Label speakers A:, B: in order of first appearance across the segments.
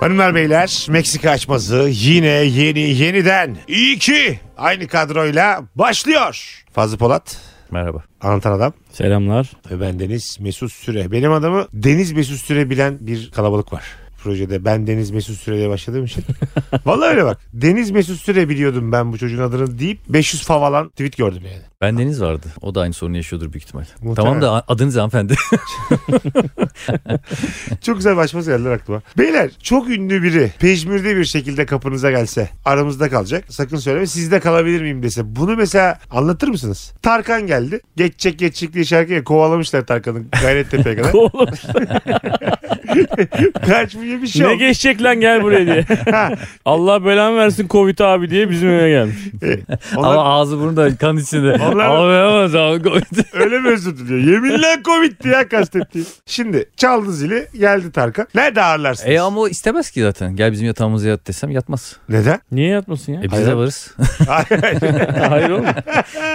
A: Hanımlar beyler Meksika açması yine yeni yeniden iyi ki aynı kadroyla başlıyor. Fazlı Polat
B: Merhaba.
A: anlatan adam
C: Selamlar.
A: ve ben Deniz Mesut Süre. Benim adamı Deniz Mesut Süre bilen bir kalabalık var projede. Ben Deniz Mesut Süre diye başladığım için. Vallahi öyle bak. Deniz Mesut Süre biliyordum ben bu çocuğun adını deyip 500 favalan tweet gördüm yani.
B: Ben Deniz vardı. O da aynı sorunu yaşıyordur büyük ihtimal.
A: Muhtemelen.
B: Tamam da a- adınız hanımefendi.
A: Çok güzel başması geldiler aklıma. Beyler çok ünlü biri pejmürde bir şekilde kapınıza gelse aramızda kalacak. Sakın söyleme sizde kalabilir miyim dese. Bunu mesela anlatır mısınız? Tarkan geldi. Geçecek geçecek diye şarkıya kovalamışlar Tarkan'ın Gayrettepe'ye kadar.
C: Oğlum
A: Kaçmıyor bir şey
C: ne
A: yok.
C: geçecek lan gel buraya diye. Allah belanı versin Covid abi diye bizim eve gelmiş.
A: Onlar
B: Ama ağzı burnu da kan içinde.
A: Onlar-
B: Ağlayamaz abi. koydu.
A: öyle mi özür diliyor? Yeminle Covid'ti ya kastettiğim. Şimdi çaldı zili geldi Tarkan. Nerede ağırlarsınız?
B: e ama o istemez ki zaten. Gel bizim yatağımıza yat desem yatmaz.
A: Neden?
C: Niye yatmasın ya?
B: E biz
A: Hayır.
B: de varız.
A: Hayır, hayır.
C: Hayır oğlum.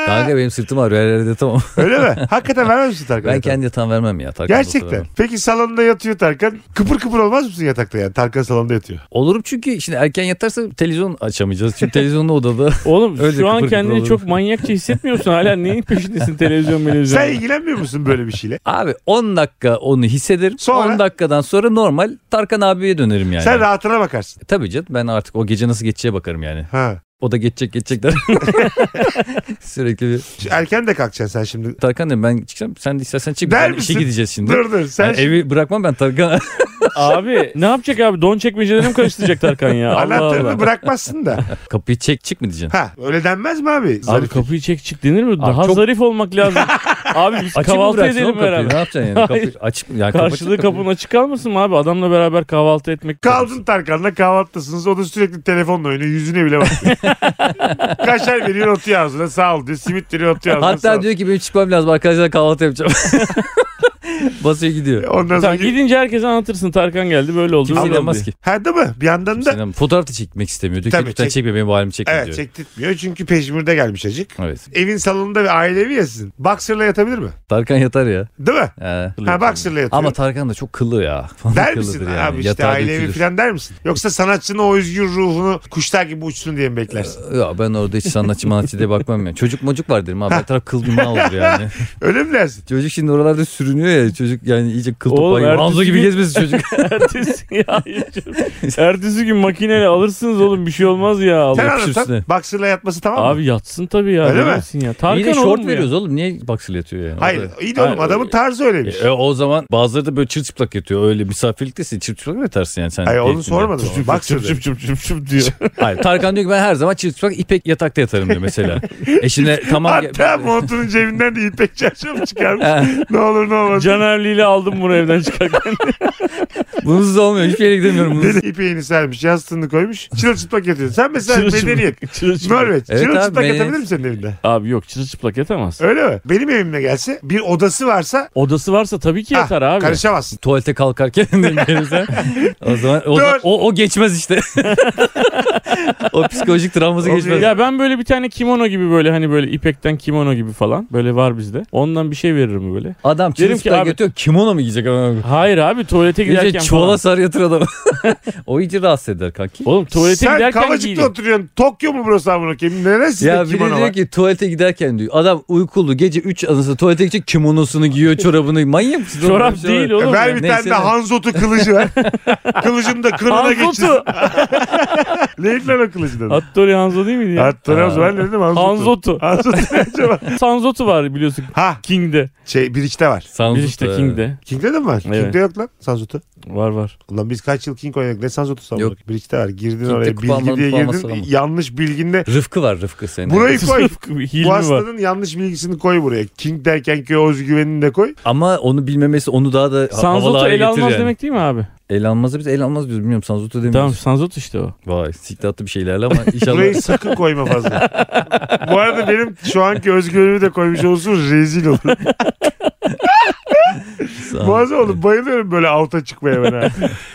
B: Kanka benim sırtım ağrıyor. Her yerde tamam.
A: öyle mi? Hakikaten vermez misin Tarkan'a?
B: Ben kendi yatağımı vermem ya. Tarkan'da
A: Gerçekten.
B: oturamam.
A: Peki salonda yatıyor Tarkan. Kıpır kıpır olmaz mısın yatakta yani? Tarkan salonda yatıyor.
B: Olurum çünkü şimdi erken yatarsa televizyon açamayacağız. Çünkü televizyonlu odada.
C: Oğlum
B: Öyle
C: şu an
B: kıpır kıpır
C: kendini
B: olur.
C: çok manyakça hissetmiyorsun. Hala neyin peşindesin televizyon televizyon.
A: Sen ilgilenmiyor musun böyle bir şeyle?
B: Abi 10 dakika onu hissederim.
A: Sonra?
B: 10 dakikadan sonra normal Tarkan abiye dönerim yani.
A: Sen rahatına bakarsın.
B: Tabii canım ben artık o gece nasıl geçeceğe bakarım yani.
A: Ha.
B: O da geçecek geçecek der. Sürekli bir
A: Şu Erken de kalkacaksın sen şimdi.
B: Tarkan dedim ben çıkacağım. Sen de istersen çık.
A: Der
B: Ben
A: misin?
B: işe gideceğiz şimdi.
A: Dur dur sen
B: Yani evi bırakmam ben Tarkan.
C: abi ne yapacak abi? Don çekmecelerini mi karıştıracak Tarkan ya? Allah
A: anahtarını
C: Allah.
A: bırakmazsın da.
B: Kapıyı çek çık mı diyeceksin?
A: Ha öyle denmez mi abi?
C: Abi
A: Zarif.
C: kapıyı çek çık denir mi? Daha
B: çok-
C: zarif olmak lazım. abi
B: Açık
C: biz
B: mı
C: kahvaltı
B: bıraksın oğlum
C: edelim
B: kapıyı? Ne
C: beraber.
B: yapacaksın yani? Kapı,
C: Hayır.
B: açık mı? Yani kapı
C: Karşılığı
B: açık, kapı-
C: kapın açık kalmasın mı abi? Adamla beraber kahvaltı etmek.
A: Kaldın Tarkan'la kahvaltısınız. O da sürekli telefonla oynuyor. Yüzüne bile bakmıyor. Kaşar veriyor otuyor ağzına. Sağ ol diyor. Simit veriyor otuyor ağzına. sağ ol.
B: Hatta diyor ki benim çıkmam lazım arkadaşlar kahvaltı yapacağım. Basıyor gidiyor.
A: Ondan sonra...
C: Sen gidince herkese anlatırsın. Tarkan geldi böyle oldu.
B: Kimse
C: böyle oldu
B: inanmaz
C: diye.
B: ki.
A: Ha değil mi? Bir yandan da...
B: Kimse inanmaz. Fotoğraf da çekmek istemiyor. Diyor ki
A: Tabii,
B: lütfen
A: çek-
B: çekme benim bu halimi çekme
A: Evet
B: diyor.
A: çektirtmiyor çünkü peşmirde gelmiş acık.
B: Evet.
A: Evin salonunda ve ailevi ya sizin. Boxer'la yatabilir mi?
B: Tarkan yatar ya.
A: Değil mi?
B: He.
A: Ha boxer'la yatıyor.
B: Ama Tarkan da çok kıllı ya. Falan
A: Der
B: kıllıdır
A: misin
B: yani.
A: abi işte
B: Yatağa
A: ailevi
B: dökülür.
A: falan der misin? Yoksa sanatçının o özgür ruhunu kuşlar gibi uçsun diye mi beklersin?
B: Ya ben orada hiç sanatçı manatçı diye bakmam ya. Çocuk mocuk var derim abi. Her taraf kıl duman olur yani.
A: Öyle mi dersin?
B: Çocuk şimdi oralarda sürünüyor ya. Çocuk yani iyice kıl
C: Oğlum,
B: topağı gibi.
C: ertesi
B: Hanzo gibi
C: gün-
B: gezmesin çocuk.
C: Ertesi, ya, hayır canım. Ertesi gün makineyle alırsınız oğlum bir şey olmaz ya. Allah.
A: Sen
B: yapışır
A: anlatan
B: üstüne.
A: boxer'la yatması tamam mı?
C: Abi yatsın tabii ya.
A: Öyle mi?
C: Öyle ya. Tarkan
B: İyi de
C: oğlum
B: şort
C: bu
B: veriyoruz oğlum. Niye baksıl yatıyor yani?
A: Hayır
B: Orada-
A: iyi de oğlum
B: Hayır.
A: adamın tarzı öyleymiş.
B: E, o zaman bazıları da böyle çırçıplak yatıyor. Öyle misafirliktesin çırçıplak mı yatarsın yani sen?
A: Hayır onu
B: keyfinde?
A: sormadım.
C: Çüp
A: Boxer'da.
C: çüp çüp çüp çüp diyor.
B: Hayır Tarkan diyor ki ben her zaman çırçıplak ipek yatakta yatarım diyor mesela. e şimdi tamam.
A: Hatta montunun cebinden de ipek çarşaf çıkarmış. ne olur ne olmaz.
C: Canerli ile aldım bunu evden çıkarken.
B: Bunsuz olmuyor. Hiçbir yere gidemiyorum. bunsuz.
A: Deli ipeğini sermiş, yastığını koymuş. Çırılçıplak yatıyor. Sen mesela
C: Çırılçıplak.
A: medeniyet.
C: Çırılçıplak.
A: Norveç.
B: Evet abi,
A: çırılçıplak
B: medeniyet.
A: yatabilir misin senin evinde?
C: Abi yok çırılçıplak yatamaz.
A: Öyle mi? Benim evime gelse bir odası varsa
C: Odası varsa tabii ki
A: Ah,
C: yatar abi.
A: karışamazsın.
B: tuvalete kalkarken denk gelirse o zaman o,
A: Dur.
B: o, o geçmez işte. o psikolojik travması
A: O
B: geçmez.
C: Ya ben böyle bir tane kimono gibi böyle hani böyle ipekten kimono gibi falan böyle var bizde. Ondan bir şey veririm böyle.
B: Adam
C: Derim ki
B: çırpıdan
C: abi-
B: götürüyor. Kimono mu giyecek? adam?
C: Hayır abi tuvalete giderken
B: İyice çuvala
C: falan.
B: sar yatır adam. o iyice rahatsız eder kanki.
C: Oğlum tuvalete
A: Sen
C: giderken
A: Kavacık'ta
C: giyelim.
A: oturuyorsun. Tokyo mu burası amına koyayım? Neresi
B: Ya
A: de
B: biri
A: kimono var?
B: diyor ki tuvalete giderken diyor. Adam uykulu gece 3 anası tuvalete gidecek kimonosunu giyiyor çorabını. Manyak mısın? oğlum?
C: Çorap
B: Böyle bir şey
C: değil
B: var.
C: oğlum.
A: Ver
C: ya.
A: bir
B: Neyse
A: tane de
B: ne.
A: Hanzot'u kılıcı ver. Kılıcım da kırına geçsin.
C: Hanzotu.
A: Neydi lan o kılıcı da?
C: Hattori Hanzo değil miydi ya?
A: Hatta o zaman ne dedim Hanzot'u.
C: Hanzotu.
A: Hanzot'u ne acaba?
C: Sanzotu var biliyorsun
A: Ha
C: King'de.
A: şey bir içte var.
B: Sansu'da.
C: Bir işte King'de.
A: King'de de mi var?
C: Evet.
A: King'de yok lan Sanzot'u.
C: Var var.
A: Ulan biz kaç yıl King oynadık ne Sanzot'u
B: Yok.
A: sanmadık. Bir içte var. Girdin
B: King'de
A: oraya
B: kupa
A: bilgi
B: almadım,
A: diye
B: kupa
A: girdin.
B: almasın
A: Yanlış bilginle
B: Rıfkı var Rıfkı senin.
A: Burayı koy.
C: Hilmi
A: Bu
C: var.
A: hastanın yanlış bilgisini koy buraya. King derken ki o özgüvenini de koy.
B: Ama onu bilmemesi onu daha da ha- havalı
C: Sanzotu
B: hale
C: el
B: getirir
C: almaz
B: yani.
C: demek değil mi abi?
B: El almazı biz el almaz diyoruz bilmiyorum Sansu'da demiyoruz.
C: Tamam Sanzot işte o.
B: Vay siktatlı bir şeylerle ama inşallah.
A: Burayı sakın koyma fazla. Bu arada benim şu anki özgüvenimi de koymuş olsun rezil olur.
B: Sağ ol.
A: Muazzam oğlum bayılıyorum böyle alta çıkmaya ben ha.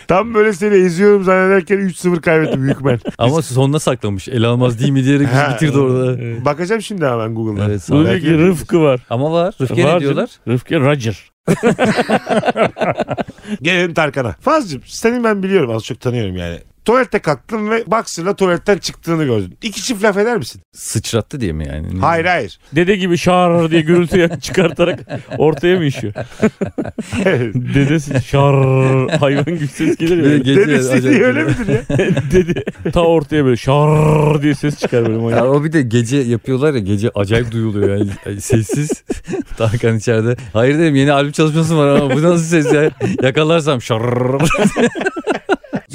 A: Tam böyle seni eziyorum zannederken 3-0 kaybettim hükmen.
B: Ama sonuna saklamış. El almaz değil mi diyerek
A: Ha.
B: bizi bitirdi orada.
A: Bakacağım şimdi hemen Google'dan.
B: Evet, sağ ol.
C: Bunun bir Rıfkı var.
B: Ama var. Rıfkı
C: Var
B: ne
C: canım.
B: diyorlar?
C: Rıfkı Roger.
A: Gelelim Tarkan'a. Fazlım seni ben biliyorum az çok tanıyorum yani. Tuvalette kalktın ve boxer'la tuvaletten çıktığını gördün. İki çift laf eder misin?
B: Sıçrattı diye mi yani?
A: Hayır hayır.
C: Dede gibi şar diye gürültü çıkartarak ortaya mı işiyor? Dedesi şar hayvan gibi ses gelir ya.
B: Böyle
C: Böyle.
B: gece
A: Dedesi
B: acayip
A: diye öyle
B: geliyor.
A: midir ya?
C: Dede ta ortaya böyle şar diye ses çıkar böyle manyak.
B: Ya o bir de gece yapıyorlar ya gece acayip duyuluyor yani Ay, sessiz. Tarkan içeride. Hayır dedim yeni albüm çalışması var ama bu nasıl ses ya? Yakalarsam şarrrr.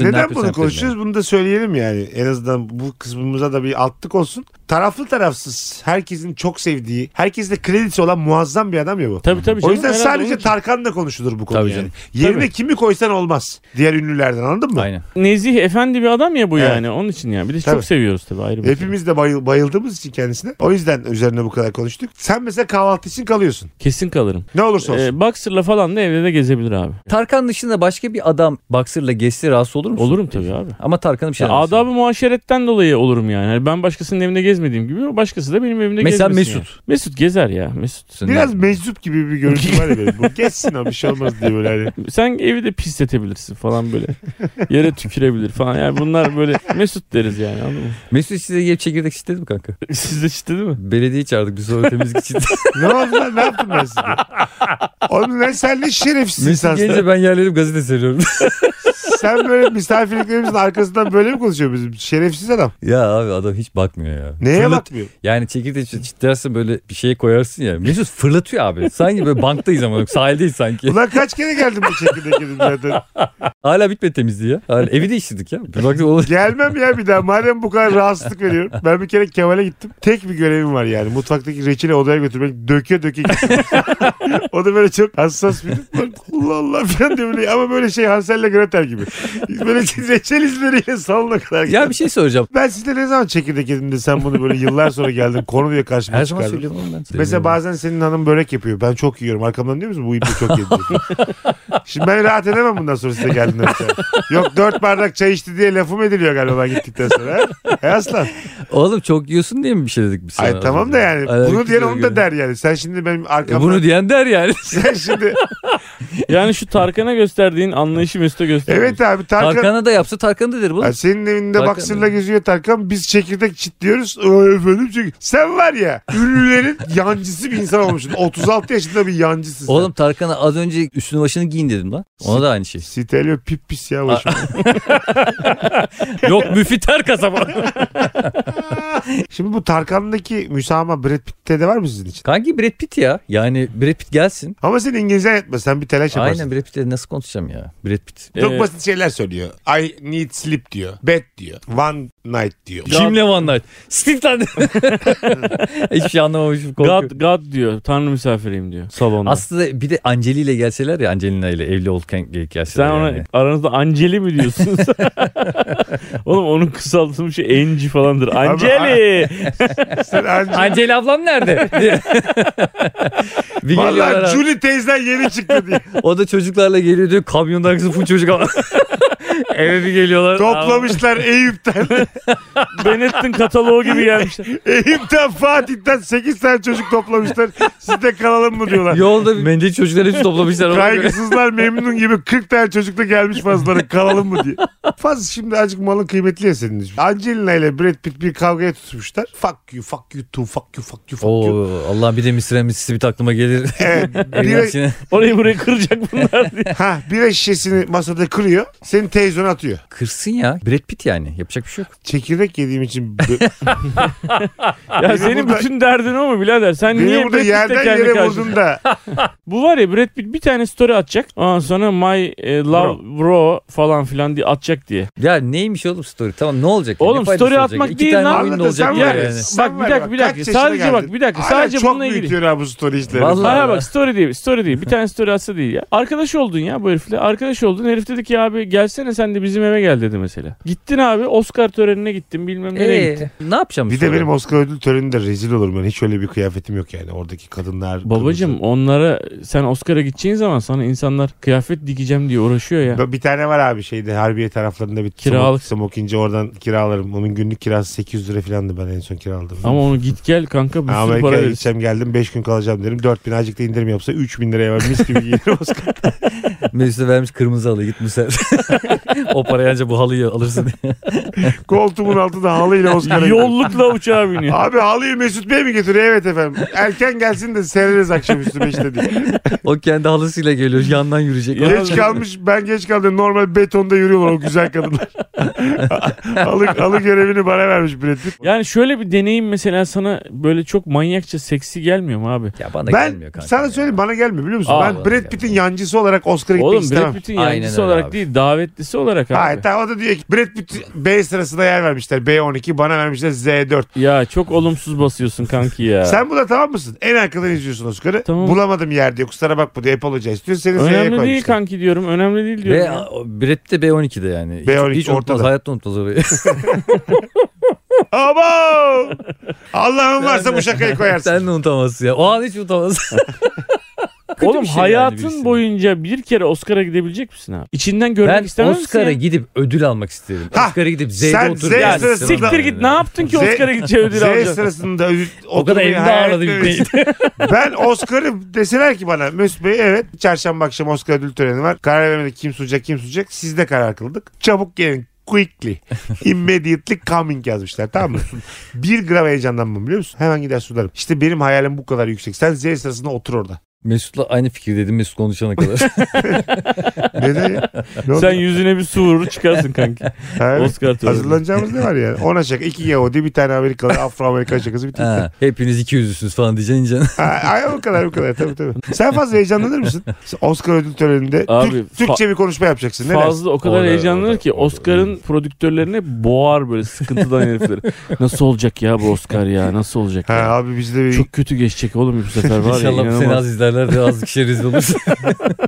A: Neden bunu konuşuyoruz? Bunu da söyleyelim yani. En azından bu kısmımıza da bir altlık olsun. Taraflı tarafsız herkesin çok sevdiği, herkesin de kredisi olan muazzam bir adam ya bu.
C: Tabii tabii.
A: O
C: canım,
A: yüzden
C: herhalde onun
A: sadece
C: için.
A: Tarkan'la konuşulur bu konu
B: Tabii
A: yani.
B: canım.
A: Yerine
C: Tabii.
A: kimi koysan olmaz. Diğer ünlülerden anladın mı?
B: Aynen.
C: nezih efendi bir adam ya bu
A: Evet.
C: yani. Onun için yani. Bir de
A: Tabii.
C: çok seviyoruz tabii ayrı bir şey.
A: Hepimiz de bayıl- bayıldığımız için kendisine. O yüzden üzerine bu kadar konuştuk. Sen mesela kahvaltı için kalıyorsun.
C: şey. Kesin kalırım.
A: Ne olursa olsun.
C: Ee, boxer'la falan da evde de gezebilir abi.
B: Tarkan dışında başka bir adam boxer'la geçse rahatsız olur musun?
C: Olurum tabii abi.
B: Ama Tarkan'ın bir şey
C: Ya adab-ı muaşeretten dolayı olurum yani. Hani ben başkasının evinde gezmediğim gibi o başkası da benim evimde
B: Mesela
C: gezmesin.
B: Mesut.
C: yani. Mesut gezer ya Mesut.
B: Ee,
A: Biraz meczup gibi bir görüntü var ya benim. Bu geçsin abi bir şey olmaz diye böyle hani.
C: Sen evi de pisletebilirsin falan böyle. Yere tükürebilir falan. Yani bunlar böyle Mesut deriz yani anladın mı?
B: Mesut size gelip çekirdek çitledi mi kanka?
C: Siz de işte değil mi?
B: Belediye çağırdık bir sonra temizlik için.
A: Ne oldu lan ne yaptım ben size? Oğlum lan sen ne şerefsiz
B: Mesut
A: insansın.
B: gelince ben yerlerim gazete seriyorum.
A: Sen böyle misafirliklerimizin arkasından böyle mi konuşuyor bizim? Şerefsiz adam.
B: ya abi adam hiç bakmıyor ya.
A: Neye
B: Fırlat-
A: bakmıyor?
B: Yani çekirdeği çit- çitlersin böyle bir şeye koyarsın ya. Mesut fırlatıyor abi. Sanki böyle banktayız ama yok sahildeyiz sanki.
A: Ulan kaç kere geldim bu çekirdek yedim zaten.
B: Hala bitmedi temizliği ya. Hala evi değiştirdik ya. Bir baktık olur.
A: Gelmem ya bir daha. Madem bu kadar rahatsızlık veriyorum. Ben bir kere Kemal'e gittim. Tek bir görevim var yani. Mutfaktaki reçeli odaya götürmek. Döke döke gittim. o da böyle çok hassas bir. Allah Allah falan diyor böyle. Ama böyle şey Hansel'le Gretel gibi. Böyle reçel izleriyle salona kadar.
B: Ya bir şey soracağım.
A: Ben sizde ne zaman çekirdek yedim de sen bunu böyle yıllar sonra geldin. Konu diye karşıma
B: Her zaman
A: çıkardın.
B: söylüyorum oğlum ben.
A: Mesela bazen senin hanım börek yapıyor. Ben çok yiyorum. Arkamdan diyor musun bu ipi çok yedi. diyor. Şimdi ben rahat edemem bundan sonra size geldiğinde mesela. Yok dört bardak çay içti diye lafım ediliyor galiba ben gittikten sonra. ha? He aslan.
B: Oğlum çok yiyorsun diye mi bir şey dedik biz sana?
A: Ay tamam da yani.
B: Ay,
A: Bunu
B: herkes
A: diyen
B: öyle
A: onu
B: görüyor.
A: da der yani. Sen şimdi benim
B: E
A: arkamdan.
B: bunu diyen der yani.
A: Sen şimdi.
C: Yani şu Tarkan'a gösterdiğin anlayışı Mesut'a göster.
A: Evet abi Tarkan.
B: Tarkan'a da yapsa Tarkan da der
A: Ha,
B: bunu.
A: senin evinde
B: Tarkan
A: baksırla geziyor Tarkan. Biz çekirdek çitliyoruz. Ö, Efendim çünkü sen var ya ünlülerin yancısı bir insan olmuşsun. 36 yaşında bir yancısın sen.
B: Oğlum Tarkan'a az önce üstünü başını giyin dedim lan. Ona da aynı şey.
A: Sitelio pip pis ya başım.
B: Yok müfiter kasaba.
A: Şimdi bu Tarkan'daki müsamaha Brad Pitt'te de var mı sizin için?
B: Kanki Brad Pitt ya. Yani Brad Pitt gelsin.
A: Ama senin İngilizcen yetmez. Sen bir telaş yaparsın.
B: Aynen Brad Pitt'le nasıl konuşacağım ya? Brad Pitt.
A: Çok
C: Ee,
A: basit şeyler söylüyor. I need sleep diyor. Bed diyor. One night diyor.
B: Kimle One Night? Steve lan. Hiçbir şey anlamamışım. korkuyorum.
C: God, God diyor. Tanrı misafiriyim diyor salonda.
B: Aslında bir de Anceli ile gelseler ya Angelina ile evli olurken gelseler.
C: Sen ona
B: yani.
C: aranızda Anceli mi diyorsunuz? Oğlum onun kısaltılmış şey Enci falandır. Anceli.
A: Sen anca...
B: Anceli ablam nerede? diye. bir geliyorlar
A: Valla
B: abi.
A: Julie teyzen yeni çıktı diye.
B: O da çocuklarla geliyor diyor. Kamyonun arkası full çocuk ama. Eve bir geliyorlar.
A: Toplamışlar Eyüp'ten.
C: Benettin kataloğu gibi gelmişler.
A: Eyüp'ten Fatih'ten 8 tane çocuk toplamışlar. Siz de kalalım mı
B: Ama
A: diyorlar.
B: Yolda mendil çocukları hepsi toplamışlar. ona göre.
A: Kaygısızlar memnun gibi 40 tane çocuk da gelmiş fazlaları kalalım mı diye. Faz şimdi azıcık malın kıymetli ya senin için. Angelina ile Brad Pitt bir kavgaya tutmuşlar. Fuck you, fuck you too, fuck you, fuck you, fuck you.
B: Oo, Allah bir de Mr. Mississippi aklıma gelir.
A: Evet,
B: Evin
A: bira,
B: içine
C: Orayı burayı kıracak bunlar diye.
A: ha, bira şişesini masada kırıyor. Senin televizyona atıyor.
B: kırsın ya. Brad Pitt yani. Yapacak bir şey yok.
A: Çekirdek yediğim için bö-
C: Ya senin
A: burada-
C: bütün derdin o mu birader? Sen
A: beni
C: niye
A: burada
C: Brad Pitt'le
A: yerden
C: kendi
A: yere
C: karşına-
A: vurdun da.
C: Bu var ya Brad Pitt bir tane story atacak. Ondan sonra my e, love bro. falan filan diye atacak diye.
B: Ya neymiş oğlum story? Tamam ne olacak? ya?
C: Oğlum,
B: Ne faydası
C: story
B: olacak?
C: atmak
B: İki
C: değil
B: tane
C: lan.
B: oyun
A: Anladın,
B: olacak
A: sen
B: ya
A: var ya.
B: yani.
A: Sen
C: Bak, bir
A: var
C: dakika,
A: ya,
C: bir
A: kaç
C: dakika.
A: yaşına
C: Sadece bak, bir dakika,
A: Hala
C: sadece
A: çok
C: bununla ilgili.
A: büyütüyor abi bu story işleri.
B: Vallahi-
C: Hayır
B: Allah.
C: bak story değil story değil bir tane story atsa değil ya. Arkadaş oldun ya bu herifle arkadaş oldun herif dedi ki abi gelsene sen de bizim eve gel dedi mesela. Gittin abi Oscar törenine gittin bilmem nereye gittin.
B: Ee, ne yapacağım
A: Bir de
B: sonra?
A: benim Oscar ödül töreninde rezil olurum ben. Hiç öyle bir kıyafetim yok yani. Oradaki kadınlar.
C: Babacım onlara sen Oscar'a gideceğin zaman sana insanlar kıyafet dikeceğim diye uğraşıyor ya.
A: Bir tane var abi şeyde Harbiye taraflarında bir
C: Kiralık.
A: Kiralık. smokinci oradan kiralarım. Onun günlük kirası 800 lira filandı ben en son kiraladım.
C: Ama onu git gel kanka bir sürü para
A: Amerika'ya
C: verirsin.
A: gideceğim geldim 5 gün kalacağım derim. 4000 azıcık da indirim yapsa 3000 liraya var mis gibi giyerim. baskı.
B: Mesut'a vermiş kırmızı halı git Müser. o parayı ancak bu halıyı alırsın.
A: Koltuğumun altında halıyla Oscar'a gidiyor.
C: Yollukla uçağa biniyor.
A: Abi halıyı Mesut Bey mi getiriyor? Evet efendim. Erken gelsin de seyrederiz akşamüstü 5'te diye.
B: o kendi halısıyla geliyor yandan yürüyecek.
A: Geç kalmış ben geç kaldım. Normal betonda yürüyorlar o güzel kadınlar. halı, halı görevini bana vermiş Brad Pitt.
C: Yani şöyle bir deneyim mesela sana böyle çok manyakça seksi gelmiyor mu abi?
B: Ya bana
A: Ben
B: gelmiyor kanka.
A: sana söyleyeyim bana gelmiyor biliyor musun?
C: Aa,
A: ben Brad
B: bana gelmiyor.
A: Pitt'in yancısı olarak Oscar'a gitmek
C: Oğlum
A: istemem.
C: Brad Pitt'in
B: Aynen öyle
C: yancısı olarak
B: abi.
C: değil davetlisi olarak abi.
A: Hayır tamam o da diyor ki Brad Pitt B sırasında yer vermişler. B12 bana vermişler Z4.
C: Ya çok olumsuz basıyorsun kanki ya.
A: Sen buna tamam mısın? En arkadan izliyorsun Oscar'ı.
C: Tamam.
A: Bulamadım yer diyor. Kusura bakma diyor. Apologize istiyor. Seni Z'ye
C: Önemli değil
A: koymuşlar.
C: kanki diyorum. Önemli değil diyorum.
B: Ve
C: ya.
B: o Brett de B12'de yani.
A: B12
B: hiç, hiç unutmaz.
A: ortada.
B: Hayatta unutmaz orayı.
A: Aman! Allah'ın varsa bu şakayı koyarsın.
B: Sen de unutamazsın ya. O an hiç unutamazsın. Kötü
C: Oğlum
B: bir şey yani
C: hayatın
B: birisi.
C: boyunca bir kere Oscar'a gidebilecek misin abi? İçinden görmek
B: Ben
C: istemez misin?
B: Oscar'a
C: ya?
B: gidip ödül almak isterim.
A: Ha,
B: Oscar'a gidip Z'de
A: sen
B: oturup.
A: Z
C: Ya
A: sırasında-
B: istemem
C: siktir git
B: yani.
C: ne yaptın ki
A: Z-
C: Oscar'a gideceği ödülü
A: Z
C: alacaksın?
A: sırasında ü-
B: O kadar
A: oturmayı
B: elimde
A: hayal
B: ağladı bir
A: etmemiştim. Ben Oscar'ı deseler ki bana Mesut Bey evet çarşamba akşamı Oscar ödül töreni var. Karar vermedik kim sunacak kim sunacak. Siz de karar kıldık. Çabuk gelin quickly. Immediately coming yazmışlar tamam mı? Bir gram heyecanlanmam biliyor musun? Hemen gider sularım. İşte benim hayalim bu kadar yüksek. Sen Z sırasında otur orada.
B: Mesut'la aynı fikirdeydim Mesut konuşana kadar.
A: Neden ya? Ne oldu?
C: Sen yüzüne bir su vurur çıkarsın kanki.
A: Ha, evet.
C: Oscar töreni.
A: Hazırlanacağımız ne var yani? Ona şaka. iki Yahudi, bir tane Amerikalı, Afro-Amerikan şakası bir tane.
B: ha, hepiniz iki yüzlüsünüz falan diyeceksin ineceksin.
A: Ha, Ay o kadar o kadar tabii tabii. Sen fazla heyecanlanır mısın? Oscar ödül töreninde
C: Abi,
A: Türk-
C: fa-
A: Türkçe bir konuşma yapacaksın. Ne dersin?
C: Fazla o kadar
B: Orada,
C: heyecanlanır
B: orada,
C: ki
B: orada.
C: Oscar'ın prodüktörlerine boğar böyle sıkıntıdan herifleri. Nasıl olacak ya bu Oscar ya nasıl olacak
A: Ha,
C: ya?
A: abi bizde bir
C: Çok kötü geçecek oğlum bu sefer var ya
B: İnşallah bu seni
C: inanılmaz.
B: az izlerler de az kişi rezil olursun.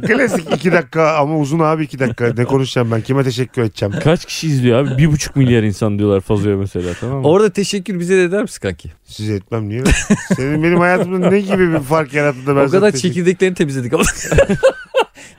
A: klasik iki dakika ama uzun abi iki dakika. Ne konuşacağım ben? Kime teşekkür edeceğim?
C: Kaç kişi izliyor abi? Bir buçuk milyar insan diyorlar fazla mesela tamam mı?
B: Orada teşekkür bize de eder misin kanki?
A: Size etmem niye? Senin benim hayatımda ne gibi bir fark yarattı da ben
B: o kadar
A: sana teşekkür-
B: çekirdeklerini temizledik ama.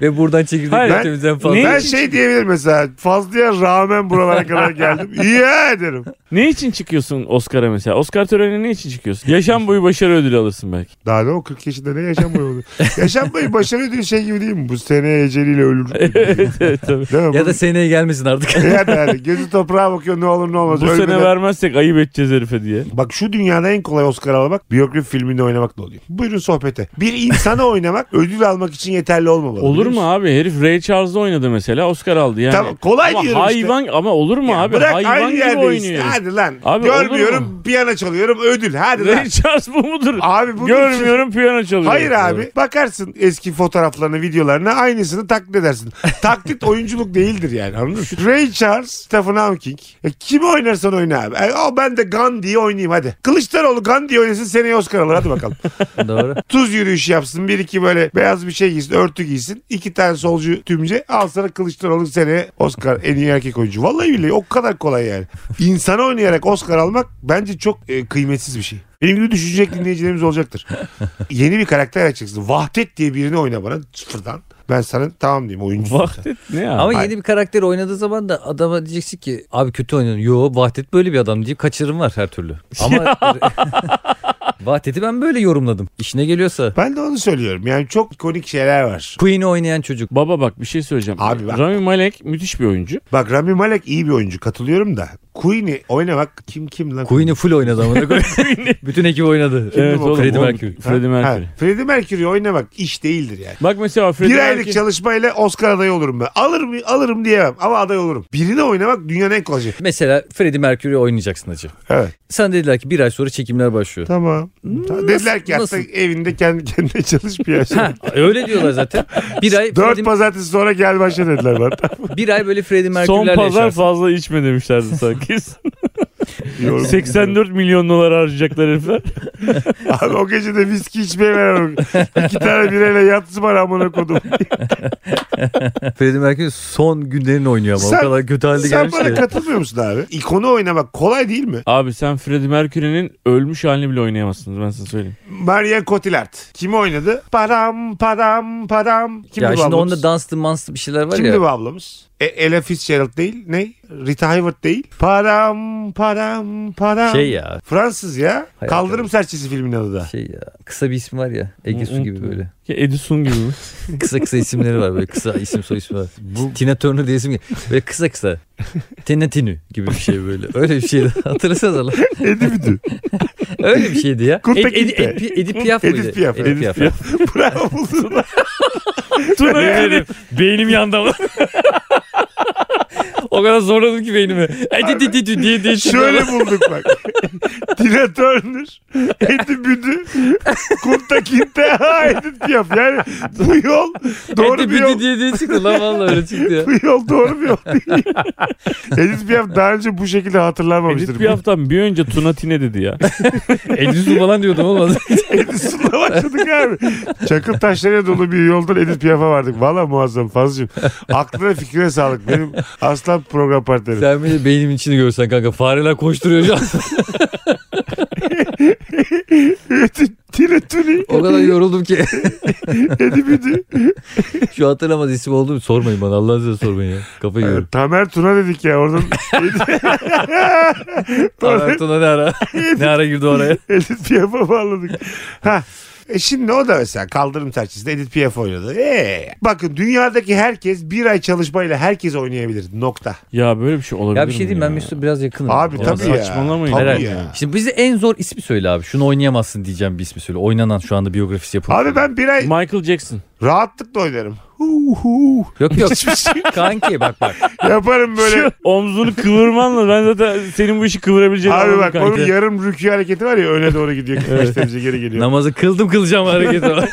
B: Ve buradan çekirdekleri
C: Hayır.
B: temizleyen fazla.
C: Ne?
A: Ben şey diyebilirim mesela fazlaya rağmen buralara kadar geldim. İyi ya derim.
C: Ne için çıkıyorsun Oscar'a mesela? Oscar törenine ne için çıkıyorsun? Yaşam boyu başarı ödülü alırsın belki.
A: Daha ne o 40 yaşında ne yaşam boyu olur. Yaşam boyu başarı ödülü şey gibi değil mi? Bu seneye eceliyle ölür.
C: evet, evet, tabii.
A: Değil mi?
B: Ya da seneye gelmesin artık.
A: yani, yani gözü toprağa bakıyor ne olur ne olmaz.
C: Bu sene
A: Ölmeden-
C: vermezsek ayıp edeceğiz herife diye.
A: Bak şu dünyada en kolay Oscar almak biyografi filminde oynamak da oluyor. Buyurun sohbete. Bir insana oynamak ödül almak için yeterli olmamalı.
C: Olur
A: biliyor musun?
C: mu abi? Herif Ray Charles'da oynadı mesela Oscar aldı yani.
A: Tamam, kolay
C: ama
A: diyorum işte.
C: hayvan, Ama olur mu
A: Ya
C: abi?
A: Bırak
C: hayvan
A: aynı
C: gibi
A: yerdeyiz.
C: oynuyor. herif.
A: Hadi lan.
C: Abi olur
A: Görmüyorum piyano çalıyorum ödül. Hadi lan.
C: Ray Charles bu mudur?
A: Abi bunu
C: Görmüyorum piyano çalıyor.
A: Hayır abi. Bakarsın eski fotoğraflarına, videolarına aynısını taklit edersin. taklit oyunculuk değildir yani anladın mı? Ray Charles, Stephen Hawking. E, kimi oynarsan oyna abi. E, o ben de Gandhi'yi oynayayım hadi. Kılıçdaroğlu Gandhi'yi oynasın seneye Oscar alır hadi bakalım.
B: Doğru.
A: Tuz yürüyüşü yapsın. Bir iki böyle beyaz bir şey giysin. Örtü giysin. iki tane solcu tümce. Al sana Kılıçdaroğlu seneye Oscar en iyi erkek oyuncu. Vallahi billahi o kadar kolay yani. İnsana oynayarak Oscar almak bence çok e, kıymetsiz bir şey. Benim gibi düşünecek dinleyicilerimiz olacaktır. Yeni bir karakter açacaksın. Vahdet diye birini oyna bana sıfırdan. Ben sana tamam diyeyim oyuncu.
C: Vahdet ne abi?
B: Ama
A: Hayır.
B: yeni bir karakter oynadığı zaman da adama diyeceksin ki abi kötü oynadın. Yo Vahdet böyle bir adam deyip kaçırım var her türlü. Ama Vahdet'i ben böyle yorumladım. İşine geliyorsa.
A: Ben de onu söylüyorum. Yani çok ikonik şeyler var.
B: Queen'i oynayan çocuk.
C: Baba bak bir şey söyleyeceğim.
A: Abi bak.
C: Rami Malek müthiş bir oyuncu.
A: Bak Rami Malek iyi bir oyuncu katılıyorum da. Queen'i oynamak kim kim lan?
B: Queen'i full oynadı ama. Bütün ekip oynadı.
C: Evet oğlum,
B: Freddie
C: oğlum.
B: Mercury.
A: Ha?
C: Freddie Mercury.
A: Ha, Freddie Mercury oynamak iş değildir yani.
C: Bak mesela Freddie
A: bir aylık
C: Mercury-
A: çalışmayla Oscar adayı olurum ben. Alır mı? Alırım diyemem ama aday olurum. Birini oynamak dünyanın en kolay şey.
B: Mesela Freddie Mercury oynayacaksın acı.
A: Evet.
B: Sana dediler ki bir ay sonra çekimler başlıyor.
A: Tamam. Dediler ki
B: nasıl?
A: hatta evinde kendi kendine çalış bir yaşa.
B: Ha, öyle diyorlar zaten. Bir ay
A: Dört
B: Freddie,
A: pazartesi sonra gel başla dediler bana.
B: bir ay böyle Freddie
C: Son
B: Mercury'lerle
C: pazar
B: yaşarsın.
C: fazla içme demişlerdi sanki.
A: Yorum.
C: 84 milyon dolar harcayacaklar herifler.
A: Abi o gece de viski içmeye veremem. İki tane birayla yatsı var amına kodum.
B: Freddie Mercury son günlerini oynuyor ama
A: Sen-
B: o kadar kötü halde
A: Sen
B: gelmiş
A: bana
B: ki.
A: katılmıyor musun abi? İkonu oynamak kolay değil mi?
C: Abi sen Freddie Mercury'nin ölmüş halini bile oynayamazsınız ben sana söyleyeyim.
A: Marian Cotillard. Kimi oynadı? Param param param. Kimdi
B: ya
A: bu
B: şimdi
A: ablamız?
B: onda danslı manslı bir şeyler var
A: Kimdi
B: ya.
A: bu ablamız? E, Ella Fitzgerald değil. Ne? Rita Hayworth değil. Param param param.
B: Şey ya.
A: Fransız ya.
B: Hayat
A: Kaldırım
B: evet.
A: serçesi filmin adı da.
B: Şey ya. Kısa bir ismi var ya. Ege Su gibi
C: Unuttum.
B: böyle.
C: Ki Edison gibi mi?
B: Kısa kısa isimleri var böyle. Kısa isim soy ismi var. Tina Turner diye isim gibi. Böyle kısa kısa. Tina Tinu gibi bir şey böyle. Öyle bir şeydi. Hatırlasanız lan.
A: Edip'di.
B: Öyle bir şeydi ya.
A: Kurt
B: Ed,
A: Tekin
B: Ed,
A: de.
B: Ed, Pi- Edip Piaf
A: Edip
B: mıydı?
A: Piaf, Edip
C: Piaf.
A: Bravo buldun.
C: Tuna'yı dedim.
B: Beynim yandı ama. o kadar zorladım ki beynimi. Edi di di di diye diye.
A: Şöyle bulduk bak. Tina Turner, Eddie Büdü, Kunta Kinte, ha, Edith Piaf. Yani bu yol doğru
B: Edi
A: bir
B: di
A: yol.
B: diye diye çıktı lan vallahi öyle çıktı ya.
A: Bu yol doğru bir yol değil. Edith Piaf daha önce bu şekilde hatırlanmamıştır.
C: Edith Piaf'tan bir önce Tuna Tine dedi ya.
B: Edi su falan diyordum olmaz.
A: Edison'la başladık abi. Çakıl taşlarıyla dolu bir yoldan Edith Piaf'a vardık. Valla muazzam Fazlıcığım. Aklına fikrine sağlık. Benim aslan program partnerim.
B: Sen beni beynimin içini görsen kanka fareler koşturuyor şu an.
A: Tire tüni.
B: O kadar yoruldum ki.
A: Edip idi.
B: Şu hatırlamaz isim olduğum sormayın bana Allah'ın size sormayın ya. Kafayı yiyorum.
A: Tamer Tuna dedik ya oradan. Tamer
B: Artuna ne ara? ne ara girdi oraya?
A: Edith Piaf'a bağladık. Ha. E şimdi o da mesela kaldırım serçesinde Edith Piaf oynadı. E, bakın dünyadaki herkes bir ay çalışmayla herkes oynayabilir. Nokta.
C: ya böyle bir şey olabilir
B: Ya bir şey diyeyim
C: mi
B: ben
C: ya?
B: Mesut'a biraz yakınım.
A: Abi
B: Olmaz
A: tabii
B: mı?
A: ya.
C: saçmalamayın.
A: Tabii
B: Herhalde.
A: ya.
B: Şimdi bize en zor ismi söyle abi. Şunu oynayamazsın diyeceğim bir ismi söyle. Oynanan şu anda biyografisi yapılmış.
A: Abi ben bir ay
C: Michael Jackson.
A: rahatlıkla oynarım. Hu hu.
B: Yok yok.
A: Hiçbir şey
B: Kanki bak bak.
A: Yaparım böyle.
C: Omzunu kıvırmanla ben zaten senin bu işi kıvırabileceğini
A: Abi
C: anladım
A: bak
C: kanka.
A: onun yarım rükü hareketi var ya öne doğru gidiyor. 45 derece geri geliyor.
B: Namazı kıldım kılacağım hareketi var.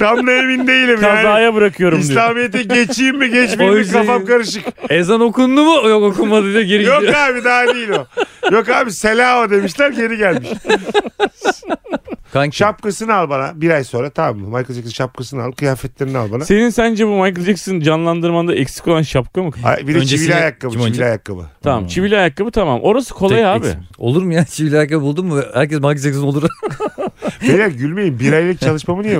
A: Tam da emin değilim yani.
C: Kazaya bırakıyorum diyor.
A: İslamiyet'e geçeyim mi geçmeyeyim
B: O
A: mi
B: yüzden-
A: kafam karışık.
B: Ezan okundu mu? Yok okunmadı diye geri
A: Yok
B: gidiyor.
A: abi daha değil o. Yok abi selao demişler geri gelmiş.
B: Kanki.
A: Şapkasını al bana bir ay sonra tamam mı? Michael Jackson şapkasını al kıyafetlerini al bana.
C: Senin sence bu Michael Jackson canlandırmanda eksik olan şapka mı?
A: Ay, bir de
B: Öncesini-
A: çivili ayakkabı
B: Kim
A: çivili
B: oynayacak?
A: ayakkabı.
C: Tamam. Çivili ayakkabı tamam. Orası kolay
B: Tek
C: abi.
B: eksik. Olur mu ya? Çivili ayakkabı buldun mu? Herkes Michael Jackson olur.
A: Beyler gülmeyin bir aylık çalışmamı niye?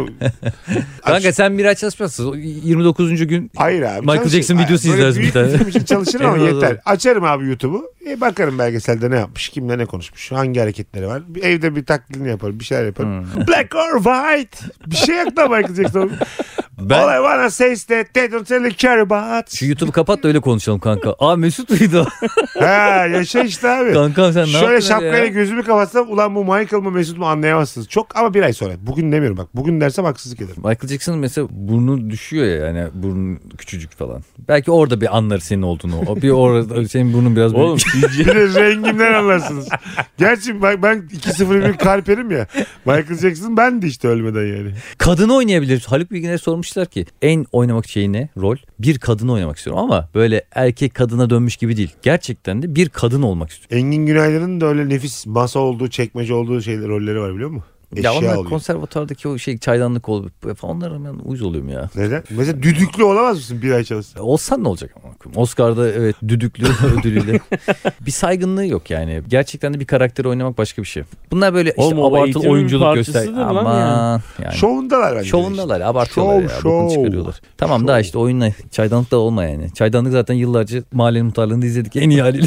B: Kanka sen bir ay çalışmazsın. 29. gün
A: Hayır abi.
B: Michael
A: çalışırım.
B: Jackson videosu
A: Ay, böyle
B: izlersin bir
A: büyük
B: tane.
A: film için çalışırım ama
B: Evet,
A: yeter.
B: evet.
A: Açarım abi YouTube'u. E, bakarım belgeselde ne yapmış, kimle ne konuşmuş, hangi hareketleri var. Bir evde bir taklidini yaparım, bir şeyler yaparım.
B: Hmm.
A: Black or white. Bir şey yok da Michael Jackson.
B: ben
A: All I wanna say is that they don't really care about.
B: şu YouTube'u kapat da öyle konuşalım kanka. Aa Mesut muydu? o?
A: ha, yaşa işte abi.
B: Kankam sen ne
A: Şöyle
B: yaptın öyle
A: şapkayla
B: ya?
A: gözümü kapatsam ulan bu Michael mı Mesut mu anlayamazsınız. Çok ama bir ay sonra. Bugün demiyorum bak. Bugün dersem haksızlık ederim.
B: Michael Jackson mesela burnu düşüyor ya yani burnu küçücük falan. Belki orada bir anlar senin olduğunu. O bir orada senin burnun biraz
C: Oğlum
B: büyük.
C: CGI
A: Bir de rengimden anlarsınız. Gerçi ben, ben 2-0-1 kalperim ya. Michael Jackson ben de işte ölmeden yani.
B: Kadını oynayabilir. Haluk Bilginer'e sormuşlar ki en oynamak şeyi ne? Rol. Bir kadını oynamak istiyorum ama böyle erkek kadına dönmüş gibi değil. Gerçekten de bir kadın olmak istiyorum.
A: Engin Günaydın'ın da öyle nefis masa olduğu, çekmece olduğu şeyler, rolleri var biliyor musun? Eşya
B: ya onlar
A: oluyor.
B: konservatuvardaki o şey çaydanlık ol falan onlara ben uyuz oluyorum ya.
A: Neden? Mesela düdüklü olamaz mısın bir ay çalışsa?
B: E, Olsan ne olacak ama koyayım? Oscar'da evet düdüklü ödülüyle. bir saygınlığı yok yani. Gerçekten de bir karakteri oynamak başka bir şey. Bunlar böyle işte
C: Oğlum o
B: abartılı
C: eğitimin
B: oyunculuk göster.
C: parçasıdır lan
B: Aman yani.
A: Şovundalar bence. de
B: Şovundalar abartıyorlar
A: Şov,
B: ya. Bokunu
A: şov.
B: çıkarıyorlar. Tamam
A: Şov.
B: daha işte oyunla çaydanlık da olma yani. Çaydanlık zaten yıllarca mahallenin muhtarlığında izledik en iyi haliyle.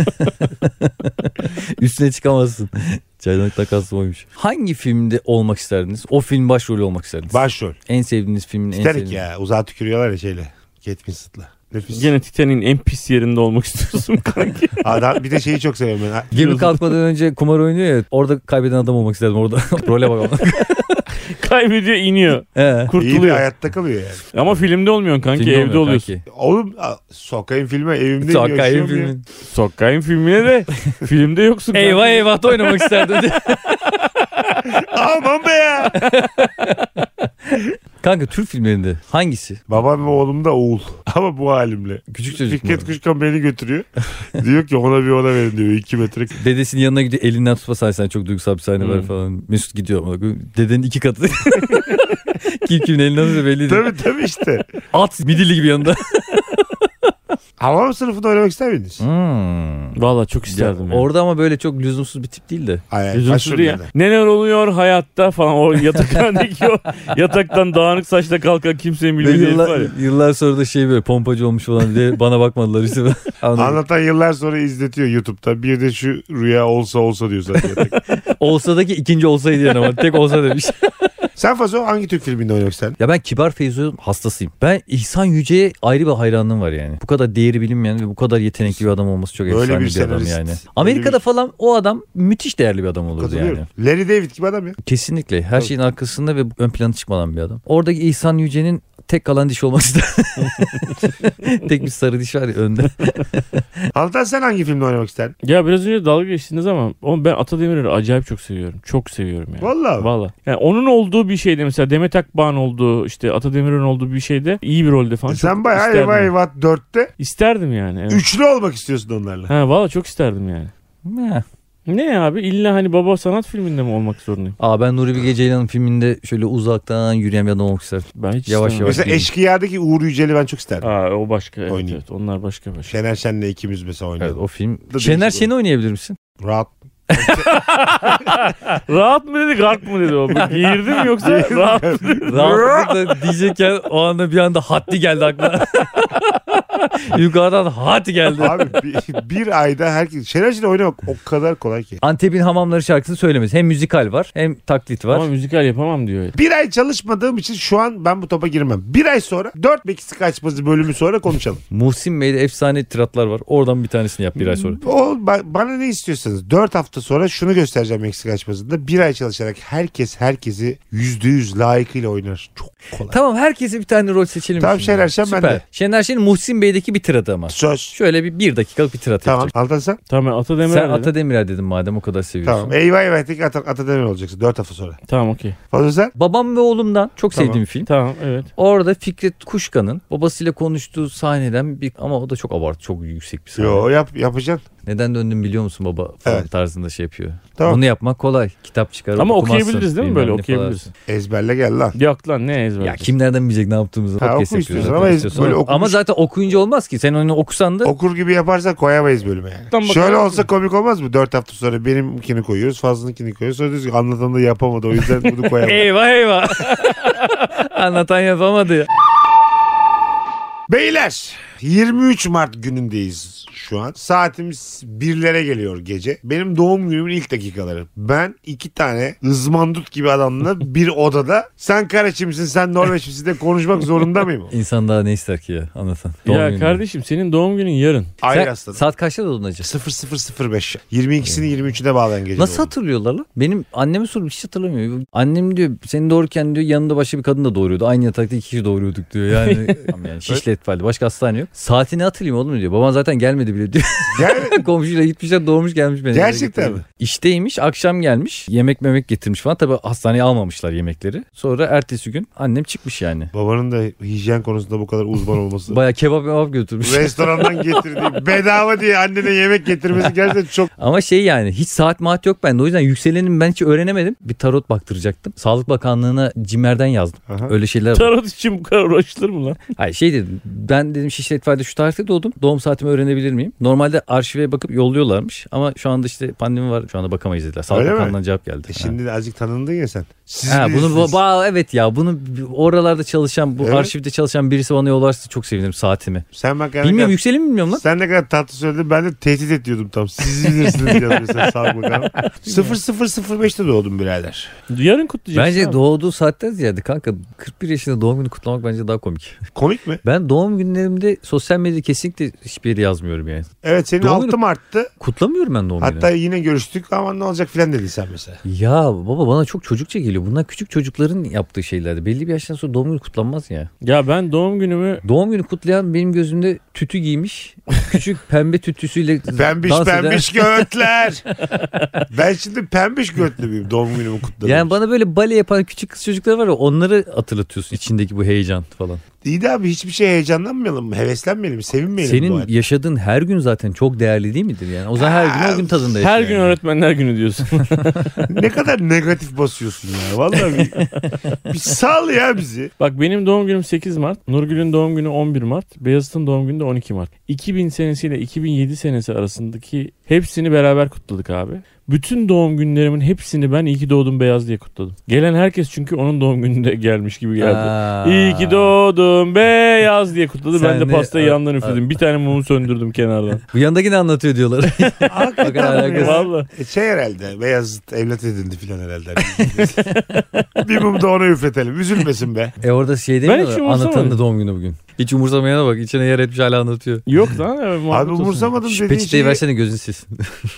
B: Üstüne çıkamazsın. Çaydanlık takası oymuş. Hangi filmde olmak isterdiniz? O film başrolü olmak isterdiniz.
A: işte. Başrol.
B: en sevdiğiniz filmin en
A: Titanic
B: sevdiğiniz.
A: ya. Uzağa tükürüyorlar ya şeyle. Kate Winslet'la. Nefis.
C: Gene Titan'in en pis yerinde olmak istiyorsun kanki.
A: Adam, bir de şeyi çok seviyorum ben.
B: Gemi kalkmadan önce kumar oynuyor ya. Orada kaybeden adam olmak isterdim orada. Role bak.
C: Kaybediyor iniyor.
B: He.
A: İyi de
C: Kurtuluyor.
A: hayatta kalıyor yani.
C: Ama filmde olmuyorsun kanki
B: Filmde
C: evde
B: olmuyor
C: oluyorsun.
B: kanki.
A: Oğlum a- sokayım filme evimde
B: Sokayım
A: yaşıyorum ya.
B: filmin.
C: Sokkayın filmine de filmde yoksun. kanki.
B: Eyvah eyvah da oynamak isterdim.
A: Aman be ya.
B: Kanka Türk filmlerinde hangisi?
A: Babam ve oğlum da oğul. Ama bu halimle.
B: Küçük çocuk mu?
A: Fikret Kuşkan beni götürüyor. diyor ki ona bir ona verin diyor. 2 metre.
B: Dedesinin yanına gidiyor elinden tutma sahnesi çok duygusal bir sahne var
C: Hmm.
B: falan. Mesut gidiyor ama dedenin iki katı. Kim kimin elinden tutsa belli değil.
A: tabii tabii işte.
B: At midilli gibi yanında.
A: Havam sınıfında oynamak ister miydiniz?
B: Hmm.
C: Valla çok isterdim.
B: Ya,
C: ya.
B: Orada ama böyle çok lüzumsuz bir tip değil de.
A: Ay, ay,
C: Lüzumsuz
A: başrolü
C: ya.
A: yani.
C: Neler oluyor hayatta falan o yatakhanedeki o yataktan dağınık saçla kalkan kimsenin
B: Böyle
C: bilmediği herif var ya.
B: yıllar, yıllar sonra da şey böyle pompacı olmuş falan diye bana bakmadılar işte. Anladın mı?
A: Anlatan yıllar sonra izletiyor YouTube'da. Bir de şu rüya olsa olsa diyor zaten.
B: Olsa'daki ikinci olsaydı yani ama tek olsa demiş.
A: Sen Fazo hangi Türk filminde oynamak isterdin?
B: Ya ben Kibar Feyzo'nun hastasıyım. Ben İhsan Yüce'ye ayrı bir hayranlığım var yani. Bu kadar değeri bilinmeyen ve bu kadar yetenekli bir adam olması çok
A: Böyle
B: efsane
A: bir
B: bir, adam
A: senarist.
B: yani.
A: Böyle
B: Amerika'da
A: bir-
B: falan o adam müthiş değerli bir adam olurdu
A: Katılıyorum.
B: yani.
A: Larry David gibi adam ya.
B: Kesinlikle. Her
A: Tabii.
B: şeyin arkasında ve ön plana çıkmadan bir adam. Oradaki İhsan Yüce'nin tek kalan diş olması da. tek bir sarı diş var ya önde.
A: Altan sen hangi filmde oynamak isterdin?
C: Ya biraz önce dalga geçtiniz ama oğlum ben Atademir'i acayip çok seviyorum. Çok seviyorum yani.
A: Vallahi.
C: Valla. Yani onun olduğu bir şeyde mesela Demet Akbağ'ın olduğu işte Atademir'in olduğu bir şeyde iyi bir rolde falan.
A: E
C: çok
A: sen bayağı
C: isterdim.
A: Eyvah Eyvah 4'te
C: İsterdim yani. Evet.
A: üçlü olmak istiyorsun onlarla.
C: Ha valla çok isterdim yani.
B: Meh.
C: Ne abi illa hani baba sanat filminde mi olmak zorundayım?
B: Aa ben Nuri Bilge Ceylan'ın filminde şöyle uzaktan yürüyen bir adam olmak isterdim.
C: Ben hiç
B: Yavaş
C: istemem.
B: yavaş.
A: Mesela
B: değilim.
A: Eşkıya'daki Uğur Yücel'i ben çok isterdim.
C: Aa, o başka. Evet,
A: Oynayayım.
C: evet, onlar başka başka.
A: Şener Şen'le ikimiz mesela
B: Evet
A: oynadık.
B: o film.
A: değişik
B: Şener
A: olur.
B: Şen'i oynayabilir misin?
A: Rahat.
C: rahat mı dedi gark mı dedi o. Girdim yoksa rahat mı?
B: Rahatlıkla diyecekken o anda bir anda haddi geldi aklına. Yukarıdan haddi geldi.
A: Abi bir, bir ayda herkes... Şener Şen'le oynamak o kadar kolay ki.
B: Antep'in hamamları şarkısını söylemesi. Hem müzikal var hem taklit var.
C: Ama müzikal yapamam diyor.
A: Bir ay çalışmadığım için şu an ben bu topa girmem. Bir ay sonra dört bekisi kaçması bölümü sonra konuşalım.
B: Muhsin Bey'de efsane tiratlar var. Oradan bir tanesini yap bir ay sonra.
A: O, ba- bana ne istiyorsanız dört hafta sonra şunu göstereceğim eksik açmasında. Bir ay çalışarak herkes herkesi yüzde yüz layıkıyla oynar. Çok kolay.
B: Tamam herkese bir tane rol seçelim.
A: Tamam,
B: şimdi.
A: Şener Şen
B: Süper.
A: bende.
B: Şener Şen'in Muhsin Bey'deki bir tiratı ama.
A: Söz.
B: Şöyle bir, bir dakikalık bir tirat
A: Tamam.
B: yapacak.
A: Altan sen?
C: Tamam ben Atademir
B: Sen
C: Sen
B: Ata Demirer dedin madem o kadar seviyorsun.
A: Tamam. Eyvah eyvah tek Ata- Atademir olacaksın dört hafta sonra.
C: Tamam okey.
A: Fazla sen?
B: Babam ve oğlumdan çok
A: Tamam.
B: sevdiğim film.
C: Tamam evet.
B: Orada Fikret Kuşkan'ın babasıyla konuştuğu sahneden bir ama o da çok abartı çok yüksek bir sahne.
A: Yo yap, yapacaksın.
B: Neden döndüm biliyor musun baba falan
A: Evet.
B: tarzında şey yapıyor.
A: Tamam.
B: Onu yapmak kolay. Kitap çıkar
C: Ama
B: okumazsın,
C: okuyabiliriz değil
B: bilmem
C: mi böyle
B: ne falan.
C: okuyabiliriz.
A: Ezberle gel lan.
C: Yok lan ne ezber.
B: Ya kim nereden bilecek ne yaptığımızı?
A: Ha,
B: Podcast
A: oku istiyorsan
B: yapıyoruz zaten,
A: ama ez-
B: istiyorsan.
A: böyle okumuş-
B: Ama zaten okuyunca olmaz ki. Sen onu okusan da
A: Okur gibi yaparsak koyamayız bölüme yani.
C: Tam bakalım.
A: Şöyle olsa komik olmaz mı? Dört hafta sonra benimkini koyuyoruz, fazlınınkini koyuyoruz. Sonra diyoruz ki anlatan da yapamadı o yüzden bunu koyamadı.
B: eyvah eyvah. Anlatan yapamadı ya.
A: Beyler 23 Mart günündeyiz şu an. Saatimiz birlere geliyor gece. Benim doğum günümün ilk dakikaları. Ben iki tane ızmandut gibi adamla bir odada sen Karaçi misin sen Norveç misin de konuşmak zorunda mıyım?
B: İnsan daha ne ister ki ya anlatan. Doğum
C: Ya
B: gününde.
C: kardeşim senin doğum günün yarın.
A: Ayrı
B: Sen-
A: hastalık.
B: Saat kaçta doğdun acaba?
A: 0005. 22'sini 23'üne bağlayan gece.
B: Nasıl
A: doğum.
B: hatırlıyorlar lan? Benim anneme sormuş hiç hatırlamıyor. Annem diyor seni doğururken diyor yanında başka bir kadın da doğuruyordu. Aynı yatakta iki kişi doğuruyorduk diyor. Yani, yani şişle etfaldi. Başka hastane yok. Saatini hatırlayayım oğlum diyor. Baban zaten gelmedi bile diyor.
A: Gel-
B: Komşuyla gitmişler doğurmuş gelmiş beni.
A: Gerçekten
B: Getiriyor.
A: mi?
B: İşteymiş akşam gelmiş. Yemek memek getirmiş falan. Tabi hastaneye almamışlar yemekleri. Sonra ertesi gün annem çıkmış yani.
A: Babanın da hijyen konusunda bu kadar uzman olması.
B: Baya kebap kebap götürmüş.
A: Restorandan getirdiği bedava diye annene yemek getirmesi gerçekten çok.
B: Ama şey yani hiç saat maat yok bende. O yüzden yükselenim ben hiç öğrenemedim. Bir tarot baktıracaktım. Sağlık Bakanlığı'na cimerden yazdım.
A: Aha.
B: Öyle şeyler var.
C: Tarot için bu kadar uğraşılır mı lan?
B: Hayır şey dedim ben dedim Şişli Etfal'de şu tarihte doğdum doğum saatimi öğrenebilir miyim? Normalde arşive bakıp yolluyorlarmış ama şu anda işte pandemi var şu anda bakamayız dediler. Sağlık
A: Öyle mi?
B: Bakanlığı'ndan cevap geldi.
A: E şimdi de azıcık tanındın ya sen. Siz
B: ha. Ha, bunu
A: bilirsiniz.
B: bu- ba- evet ya bunu oralarda çalışan bu
A: Evet.
B: arşivde çalışan birisi bana yollarsa çok sevinirim saatimi.
A: Sen bak yani
B: Bilmiyorum yükselim bilmiyorum lan.
A: sen ne kadar tatlı söyledin ben de tehdit ediyordum tam. Siz bilirsiniz yazıyor sen sağlık bakanım. 0005'te doğdum birader.
C: Yarın kutlayacaksın.
B: Bence
C: abi.
B: doğduğu saatten ziyade kanka 41 yaşında doğum günü kutlamak bence daha komik.
A: Komik mi?
B: Ben doğum günlerimde sosyal medyada kesinlikle hiçbir yere yazmıyorum yani.
A: Evet senin
B: Doğum
A: altı
B: günü-
A: mı arttı?
B: Kutlamıyorum ben doğum günü.
A: Hatta yine görüştük ama ne olacak filan dedin sen mesela.
B: Ya baba bana çok çocukça geliyor. Bunlar küçük çocukların yaptığı şeylerdi. Belli bir yaştan sonra doğum günü kutlanmaz ya.
C: Ya ben doğum günümü
B: Doğum günü kutlayan benim gözümde tütü giymiş. Küçük pembe tütüsüyle
A: Pembiş
B: dans eden-
A: pembiş götler. ben şimdi pembiş götlü müyüm doğum günümü kutladım.
B: Yani bana böyle bale yapan küçük kız çocukları var ya onları hatırlatıyorsun içindeki bu heyecan falan.
A: İyi de abi hiçbir şey heyecanlanmayalım mı? Heveslenmeyelim mi? Sevinmeyelim bu
B: Senin
A: hayatta.
B: yaşadığın her gün zaten çok değerli değil midir yani? O zaman her gün o gün tadında yaşa
C: her
B: yani.
C: gün öğretmenler günü diyorsun.
A: ne kadar negatif basıyorsun ya. Vallahi bir, bir sal ya bizi.
C: Bak benim doğum günüm 8 Mart. Nurgül'ün doğum günü 11 Mart. Beyazıt'ın doğum günü de 12 Mart. 2000 senesiyle 2007 senesi arasındaki hepsini beraber kutladık abi. Bütün doğum günlerimin hepsini ben iyi ki doğdum beyaz diye kutladım. Gelen herkes çünkü onun doğum gününde gelmiş gibi geldi.
B: Aa.
C: İyi ki doğdum beyaz diye kutladı. ben
B: Sen
C: de
B: de-
C: pastayı
B: a-
C: yandan üfledim. Bir tane mumu söndürdüm kenardan.
B: Bu yandaki ne anlatıyor diyorlar. Bakın
A: Hakikaten
B: alakası.
A: ya.
C: Vallahi.
A: E, Şey herhalde Beyazıt evlat edindi filan herhalde. bir mum da ona üfletelim. Üzülmesin be.
B: e orada şey
C: Ben hiç
B: demiyorlar
C: umursamadım.
B: anlatanın da doğum günü bugün. Hiç umursamayana bak içine yer etmiş hala anlatıyor.
C: Yok lan. evet, muhabbet
A: Abi
C: olsun.
A: umursamadım
B: Şu
A: dediğin
B: peçeteyi
A: şeyi
B: versene gözün silsin.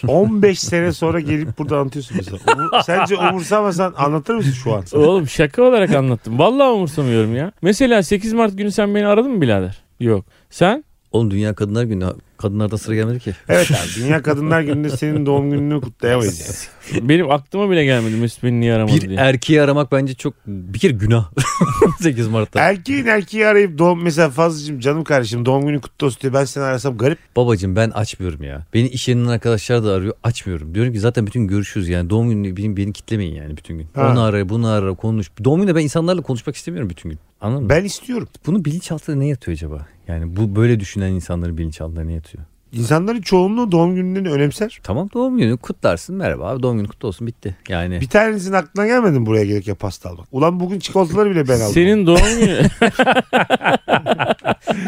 A: 15 sene sonra gelip burada anlatıyorsun mesela. Umur- Sence umursamasan anlatır mısın şu an?
C: Oğlum şaka olarak anlattım. Vallahi umursamıyorum ya. Mesela 8 Mart günü sen beni aradın mı birader? Yok. Sen?
B: Oğlum Dünya Kadınlar Günü. Kadınlardan sıra gelmedi ki.
A: Evet abi Dünya Kadınlar Günü'nde senin doğum gününü kutlayamayız yani.
C: Benim aklıma bile gelmedi Mesut beni niye aramadı
B: Bir
A: er-
C: diye.
B: erkeği aramak bence çok bir kere günah. 8 Mart'ta.
A: Erkeğin erkeği arayıp doğum mesela Fazlıcığım canım kardeşim doğum günü kutlu olsun diye ben seni arasam garip.
B: Babacım ben açmıyorum ya. Beni iş yerinden arkadaşlar da arıyor. Açmıyorum. Diyorum ki zaten bütün görüşürüz yani. Doğum günü beni, beni kitlemeyin yani bütün gün.
A: Ha.
B: Onu ara bunu ara konuş. Doğum günü ben insanlarla konuşmak istemiyorum bütün gün. Anladın mı?
A: Ben istiyorum.
B: Bunu bilinçaltında ne yatıyor acaba? Yani bu böyle düşünen insanların bilinçaltında ne yatıyor?
A: İnsanların çoğunluğu doğum günlerini önemser.
B: Tamam doğum günü kutlarsın merhaba abi doğum günü kutlu olsun bitti. Yani
A: Bir tanesinin aklına gelmedi mi buraya gelirken pasta almak? Ulan bugün çikolataları bile ben aldım.
C: Senin doğum günü.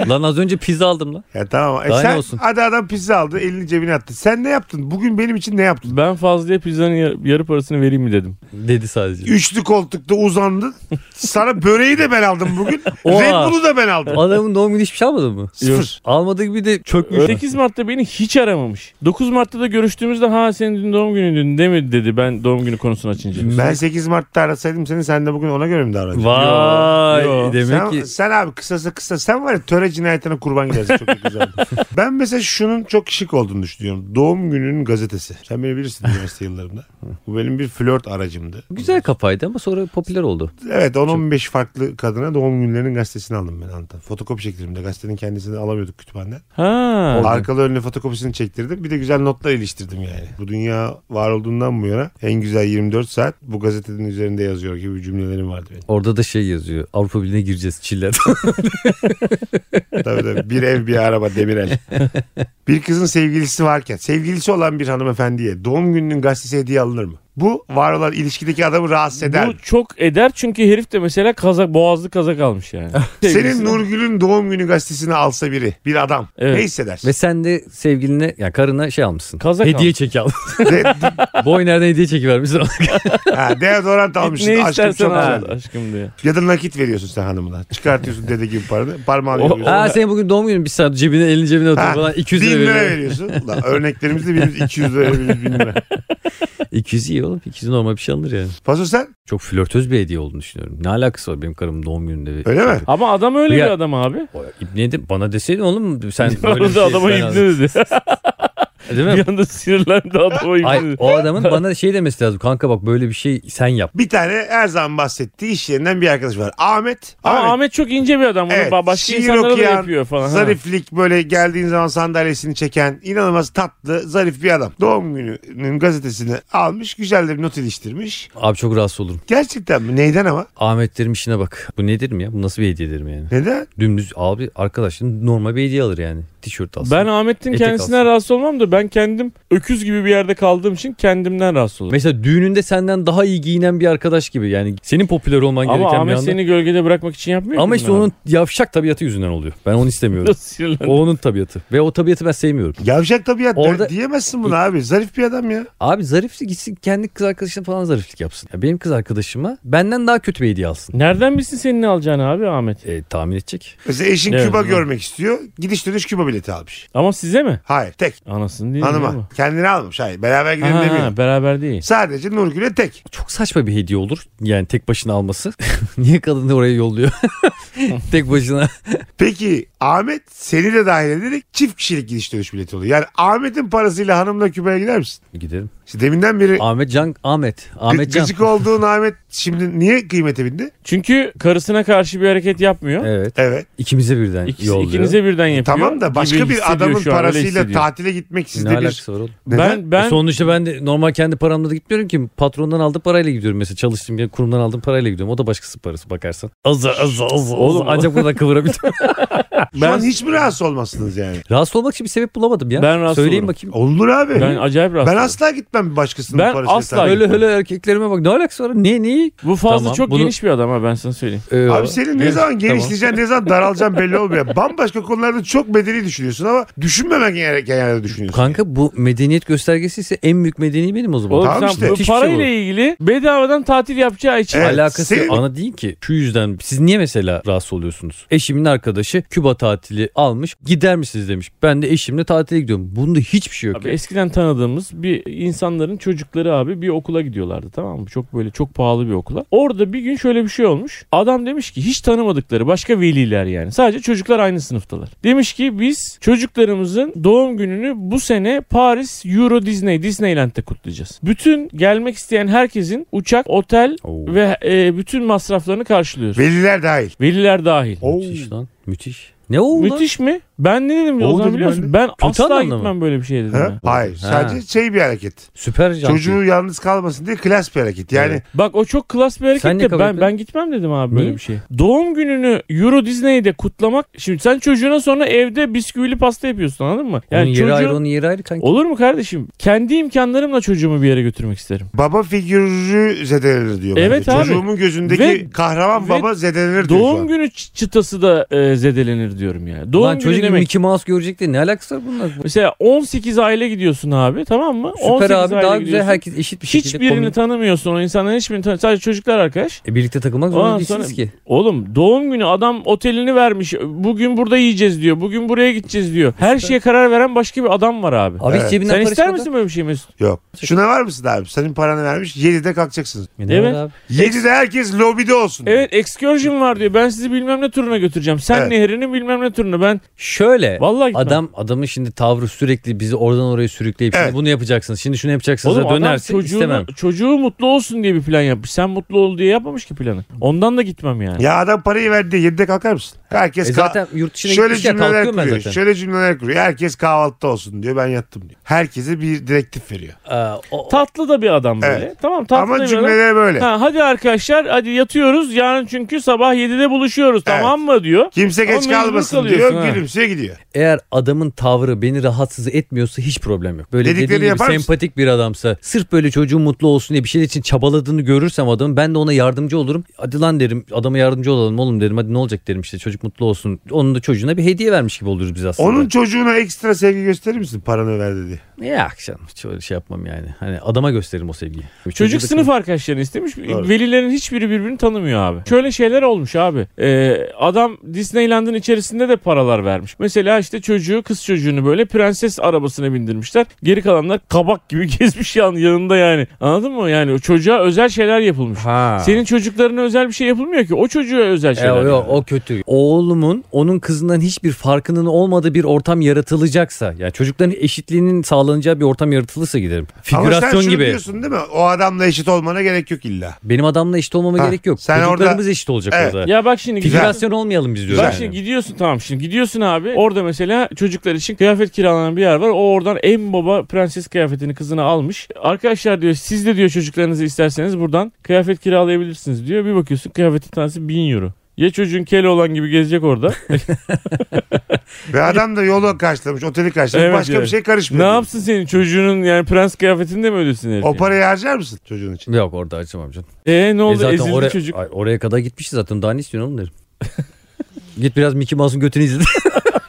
B: lan az önce pizza aldım lan.
A: Ya tamam. E
B: Daha ne
A: sen
B: olsun?
A: hadi adam pizza aldı elini cebine attı. Sen ne yaptın? Bugün benim için ne yaptın?
C: ben Fazlı'ya pizzanın yar- yarı parasını vereyim mi dedim.
B: Dedi sadece.
A: Üçlü koltukta uzandın. Sana böreği de ben aldım bugün.
B: Oha.
A: Red Bull'u da ben aldım.
B: Adamın doğum günü hiçbir şey almadı mı?
A: Sıfır.
B: Almadığı gibi de çökmüş.
C: 8 Mart'ta beni hiç aramamış. 9 Mart'ta da görüştüğümüzde ha senin dün doğum günüydün değil mi dedi ben doğum günü konusunu açınca.
A: Ben 8 Mart'ta arasaydım seni sen de bugün ona göre mi davranacaksın?
B: Vay
C: Yo, yo.
B: demek
A: Sen,
B: ki
A: sen abi kısası kısa. Sen var ya töre cinayetine kurban gidersin çok güzel. ben mesela şunun çok şık olduğunu düşünüyorum. Doğum gününün gazetesi. Sen beni bilirsin üniversite yıllarında. Bu benim bir flört aracımdı.
B: güzel kafaydı ama sonra popüler oldu.
A: Evet 10-15 farklı kadına doğum günlerinin gazetesini aldım ben Antan. Fotokopi çektirdim de gazetenin kendisini alamıyorduk kütüphaneden.
C: Ha.
A: Arkalı önlü fotokopisini çektirdim. Bir de güzel notlar iliştirdim yani. Bu dünya var olduğundan bu yana en güzel 24 saat bu gazetenin üzerinde yazıyor gibi cümlelerim vardı benim.
B: Orada da şey yazıyor. Avrupa Birliği'ne gireceğiz Çiller.
A: tabii tabii. Bir ev bir araba Demirel. bir kızın sevgilisi varken sevgilisi olan bir hanımefendiye doğum gününün gazetesi hediye alınır mı? Bu var olan ilişkideki adamı rahatsız eder. mi?
C: Bu çok eder çünkü herif de mesela kazak boğazlı kazak almış yani.
A: Senin
C: Sevgilisine-
A: Nurgül'ün doğum günü gazetesini alsa biri, bir adam
C: Evet.
A: ne hissedersin?
B: Ve sen de sevgiline yani karına şey almışsın.
C: Kazak
B: hediye
C: almış.
B: çeki almışsın.
A: De,
B: Boy nereden hediye çeki vermişsin.
A: ha, deodorant almışsın.
C: Ne
A: Aşkım
C: istersen
A: çok
C: al
A: güzel.
C: aşkım diye.
A: Ya da nakit veriyorsun sen hanımına. Çıkartıyorsun dede gibi paranı. Parmağını
C: O-
A: yoruyorsun.
B: Aa senin bugün doğum günün bir saat cebine elini cebine atıyor
A: Ha,
B: falan 200
A: Bin
B: lira
A: lira
B: veriyor.
A: veriyorsun. Ulan örneklerimizde birimiz 200 lira birimiz 1000 lira.
B: 200 iyi oğlum 200 normal bir şey alınır yani.
A: Paso sen
B: Çok flörtöz bir hediye olduğunu düşünüyorum. Ne alakası var benim karımın doğum gününde? Bir...
A: öyle mi?
C: Ama adam öyle
B: Ya-
C: bir adam abi.
B: O, İbniye de bana deseydin oğlum sen böyle bir
C: Orada
B: şey
C: adama
B: ben
C: ibni
B: aldım.
C: dedi.
B: Değil mi?
C: bir anda sinirlendi adama ibni
B: Ay,
C: dedi.
B: o adamın bana şey demesi lazım. Kanka bak böyle bir şey sen yap.
A: Bir tane her zaman bahsettiği iş yerinden bir arkadaş var. Ahmet.
C: Ama Ahmet, çok ince bir adam. Onu
A: Evet,
C: ba- başka
A: şiir
C: insanlara da
A: okuyan,
C: yapıyor falan. ha.
A: Zariflik böyle geldiğin zaman sandalyesini çeken inanılmaz tatlı zarif bir adam. Doğum gününün gazetesini almış güzel de bir not iliştirmiş.
B: Abi çok rahatsız olurum.
A: Gerçekten mi? Neyden ama?
B: Ahmetlerim işine bak. Bu nedir mi ya? Bu nasıl bir hediyedir mi yani?
A: Neden?
B: Dümdüz abi arkadaşın normal bir hediye alır yani. Tişört alsın.
C: Ben Ahmet'in
B: Etek
C: kendisine
B: alsın.
C: rahatsız olmam da ben kendim öküz gibi bir yerde kaldığım için kendimden rahatsız olurum.
B: Mesela düğününde senden daha iyi giyinen bir arkadaş gibi yani senin popüler olman
C: Ama
B: gereken bir
C: Ahmet
B: anda.
C: seni gölgede bırakmak için yapmıyor
B: Ama
C: ki
B: işte
C: bunları.
B: onun yavşak tabiatı yüzünden oluyor. Ben onu istemiyorum.
C: Nasıl sinirlendin?
B: o onun tabiatı. Ve o tabiatı ben sevmiyorum.
A: Yavşak tabiat
B: Orada-
A: diyemezsin bunu abi. Zarif bir adam ya.
B: Abi zariflik gitsin kendi kız arkadaşına falan zariflik yapsın. Ya benim kız arkadaşıma benden daha kötü bir hediye alsın.
C: Nereden bilsin senin ne alacağını abi Ahmet?
B: E, tahmin edecek.
A: Mesela eşin
C: Evet,
A: Küba
C: evet.
A: görmek istiyor. Gidiş dönüş Küba bileti almış.
C: Ama size mi?
A: Hayır tek.
C: Anasını değil mi?
A: Hanıma. Kendini almış. Hayır beraber gidelim
C: Ha,
A: demiyor.
C: ha, beraber değil.
A: Sadece Nurgül'e tek.
B: Çok saçma bir hediye olur. Yani tek başına alması. Niye kadını oraya yolluyor? tek başına.
A: Peki Ahmet seni de dahil ederek çift kişilik gidiş dönüş bileti oluyor. Yani Ahmet'in parasıyla hanımla Küba'ya gider misin?
B: Gidelim.
A: İşte deminden beri
C: Ah,
B: Ahmet Can. Ahmet.
A: gı-
B: Ahmet Can.
A: gıcık olduğun Ahmet şimdi niye kıymete bindi?
C: Çünkü karısına karşı bir hareket yapmıyor.
B: Evet.
A: Evet.
B: İkimize birden
C: İkisi,
B: yolluyor.
C: ikinize birden yapıyor.
A: E, Tamam da
C: gibi
A: başka bir
C: hissediyor
A: adamın
C: şu an, öyle
A: parasıyla
C: hissediyor.
A: tatile gitmek
B: ne
A: sizde bir...
B: alakası var oğlum?
A: Neden?
C: Ben ben
B: E Sonuçta ben de normal kendi paramla da gitmiyorum ki. Patrondan aldığım parayla gidiyorum mesela. Çalıştığım yer kurumdan aldığım parayla gidiyorum. O da başkasının parası bakarsan. Az az az
C: Oğlum.
B: Oğlum ancak buradan kıvırabilirim.
A: Şu
C: ben-
A: an hiç mi rahatsız olmazsınız yani?
B: rahatsız olmak için bir sebep bulamadım ya.
C: Ben rahatsız
B: Söyleyin
C: olurum.
B: bakayım.
A: Olur abi.
C: ben
A: Ben,
C: acayip rahatsız. oldum.
A: asla gitmem bir başkasının
C: Ben
A: parasıyla
C: asla
A: tatile.
B: Öyle öyle erkeklerime bak. Ne alakası var? Ne ne?
C: Bu fazla
B: Tamam,
C: çok
B: bunu-
C: geniş bir adam ha ben sana söyleyeyim.
B: Ee,
A: Abi senin ne
C: Evet,
A: zaman
C: tamam.
A: genişleyeceksin ne zaman daralacaksın belli olmuyor. Bambaşka konularda çok medeni düşünüyorsun ama düşünmemen gereken yerlerde düşünüyorsun.
B: Kanka bu medeniyet göstergesi ise en büyük medeni benim o zaman.
C: Oğlum
A: Tamam
C: sen
A: işte.
C: bu
B: Müthiş bir şey
C: parayla
B: bu.
C: ilgili bedavadan tatil yapacağı için
A: Evet,
B: Alakası
A: senin-
B: ana değil ki. Şu yüzden siz niye mesela rahatsız oluyorsunuz? Eşimin arkadaşı Küba tatili almış. Gider misiniz demiş. Ben de eşimle tatile gidiyorum. Bunda hiçbir şey yok.
C: Abi
B: ya.
C: eskiden tanıdığımız bir insanların çocukları abi bir okula gidiyorlardı tamam mı? Çok böyle çok pahalı bir okula. Orada bir gün şöyle bir şey olmuş. Adam demiş ki hiç tanımadıkları başka veliler yani. Sadece çocuklar aynı sınıftalar. Demiş ki biz çocuklarımızın doğum gününü bu sene Paris Euro Disney Disneyland'de kutlayacağız. Bütün gelmek isteyen herkesin uçak, otel
B: Oo.
C: ve e, bütün masraflarını karşılıyoruz.
A: Veliler dahil.
C: Veliler dahil.
A: Oo.
B: Müthiş lan. Müthiş. Ne oldu?
C: Müthiş mi? Ben ne dedim o
A: Oldu
C: zaman biliyor
A: ben
C: musun? Ben asla
B: anlamda mı?
C: gitmem böyle bir şey dedim.
A: Ha?
C: ya.
A: Hayır.
B: Ha.
A: Sadece şey bir hareket.
B: Süper canlı.
A: Çocuğu yalnız kalmasın diye klas bir hareket. Yani
B: Evet.
C: Bak o çok klas bir hareket
B: Sen ne
C: de
B: kabul
C: ben,
B: ettin?
C: ben gitmem dedim abi böyle
B: Niye?
C: bir şey. Doğum gününü Euro Disney'de kutlamak. Şimdi sen çocuğuna sonra evde bisküvili pasta yapıyorsun anladın mı?
B: onun
C: Yani
B: yeri ayrı
C: çocuğun...
B: onun yeri ayrı kanka.
C: Olur mu kardeşim? Kendi imkanlarımla çocuğumu bir yere götürmek isterim.
A: baba figürü zedelenir diyor. bence.
C: Evet abi.
A: Çocuğumun gözündeki
C: Ve-
A: kahraman
C: ve
A: baba zedelenir diyor. şu
C: Doğum
A: an.
C: günü çı- çıtası da e, zedelenir diyorum yani. Doğum
B: Lan
C: günü
B: çocuk
C: demek.
B: Mickey Mouse görecek de ne alakası var bununla?
C: Mesela 18 aile gidiyorsun abi tamam mı? 18
B: Süper abi
C: aile
B: daha güzel
C: gidiyorsun.
B: herkes eşit bir şekilde.
C: Hiçbirini
B: komün-
C: tanımıyorsun o insanların hiçbirini tanımıyorsun. Sadece çocuklar arkadaş.
B: E, birlikte takılmak
C: Ondan
B: zorunda değilsiniz
C: sonra-
B: ki.
C: Oğlum doğum günü adam otelini vermiş. Bugün burada yiyeceğiz diyor. Bugün buraya gideceğiz diyor. Her şeye karar veren başka bir adam var abi.
B: Abi
A: Evet.
B: hiç cebinden
C: Sen
B: para
C: ister
B: çıkmadan-
C: misin böyle bir şey Mesut?
A: Yok. Şuna var mısın abi? Senin paranı vermiş. 7'de kalkacaksın.
B: E, ne
C: Evet.
B: var abi?
A: 7'de herkes lobide
B: Hmm.
A: olsun.
C: Evet excursion var diyor. Ben sizi bilmem ne turuna götüreceğim. Sen
A: Evet.
C: nehrinin bilmem ne turuna. Ben
B: Şöyle.
C: vallahi gitmem.
B: Adam adamın şimdi tavrı sürekli bizi oradan oraya sürükleyip
A: Evet.
B: şimdi bunu yapacaksınız. Şimdi şunu yapacaksınız.
C: Oğlum
B: Oğlum,
C: adam
B: dönersin
C: çocuğunu-
B: istemem.
C: çocuğu mutlu olsun diye bir plan yapmış. Sen mutlu ol diye yapmamış ki planı. Ondan da gitmem yani.
A: Ya adam parayı verdi. 7'de kalkar mısın? Herkes
B: E
A: ka-
B: zaten yurt dışına
A: Şöyle
B: gitmişken
A: cümleler
B: kalkıyorum ben
A: kuruyor.
B: zaten.
A: Şöyle cümleler kuruyor. Herkes kahvaltıda olsun diyor. Ben yattım diyor. Herkese bir direktif veriyor.
B: Aa, o-
C: Tatlı da bir adam böyle. Tamam tatlı da
A: Ama
C: bir adam.
A: cümleler böyle.
C: Ha, hadi arkadaşlar hadi yatıyoruz. Yarın çünkü sabah 7'de buluşuyoruz
A: Evet.
C: tamam mı diyor.
A: Kimse
C: Ama
A: geç
C: mecbur
A: kalmasın
C: kalıyorsun
A: diyor.
C: ha.
A: Gülümseye gidiyor.
B: eğer adamın tavrı beni rahatsız etmiyorsa hiç problem yok. Böyle
A: Dediklerini
B: dediğin gibi
A: yapar mısın?
B: sempatik bir adamsa sırf böyle çocuğun mutlu olsun diye bir şey için çabaladığını görürsem adamın ben de ona yardımcı olurum. Hadi lan derim adama yardımcı olalım oğlum derim hadi ne olacak derim işte çocuk mutlu olsun. Onun da çocuğuna bir hediye vermiş gibi oluruz biz aslında.
A: Onun çocuğuna ekstra sevgi gösterir misin paranı verdi diye?
B: Ya akşam hiç öyle şey yapmam yani. Hani adama gösteririm o sevgiyi.
C: Çocuk
B: da-
C: sınıf arkadaşlarını istemiş.
A: Doğru.
C: Velilerin hiçbiri birbirini tanımıyor abi. Şöyle şeyler olmuş abi. Ee, adam Disneyland'ın içerisinde de paralar vermiş. Mesela işte çocuğu kız çocuğunu böyle prenses arabasına bindirmişler. Geri kalanlar kabak gibi gezmiş yan, yanında yani. Anladın mı? Yani o çocuğa özel şeyler yapılmış.
B: Ha.
C: Senin çocuklarına özel bir şey yapılmıyor ki. O çocuğa özel
B: E,
C: şeyler.
B: o-
C: yani.
B: o kötü. Oğlumun onun kızından hiçbir farkının olmadığı bir ortam yaratılacaksa, yani çocukların eşitliğinin sağlanacağı bir ortam yaratılırsa giderim.
A: Ama sen
B: Figürasyon
A: şunu
B: gibi.
A: diyorsun değil mi? O adamla eşit olmana gerek yok illa.
B: Benim adamla eşit olmama
A: Ha,
B: gerek yok.
A: sen
B: Çocuklarımız
A: orada-
B: eşit olacak
A: Evet.
B: orada.
C: Ya bak şimdi
B: Figürasyon olmayalım biz diyoruz.
C: Bak
B: yani.
C: şimdi gidiyorsun tamam şimdi gidiyorsun abi. Orada mesela çocuklar için kıyafet kiralanan bir yer var. O oradan en baba prenses kıyafetini kızına almış. Arkadaşlar diyor siz de diyor çocuklarınızı isterseniz buradan kıyafet kiralayabilirsiniz diyor. Bir bakıyorsun kıyafetin tanesi 1000 euro. Ya çocuğun kele olan gibi gezecek orada.
A: Ve adam da yolu karşılamış, oteli karşılamış.
C: Evet
A: başka
C: yani.
A: bir şey
C: ne
A: karışmıyor.
C: yapsın senin çocuğunun yani prens kıyafetinde mi ödesin herif?
A: O parayı harcar mısın çocuğun için?
B: Yok orada açamam canım.
C: Eee ne
B: E
C: oldu
B: zaten
C: ezildi
B: oraya,
C: çocuk.
B: Ay, oraya kadar gitmişti zaten daha ne istiyorsun oğlum derim. Git biraz Mickey Mouse'un götünü izle.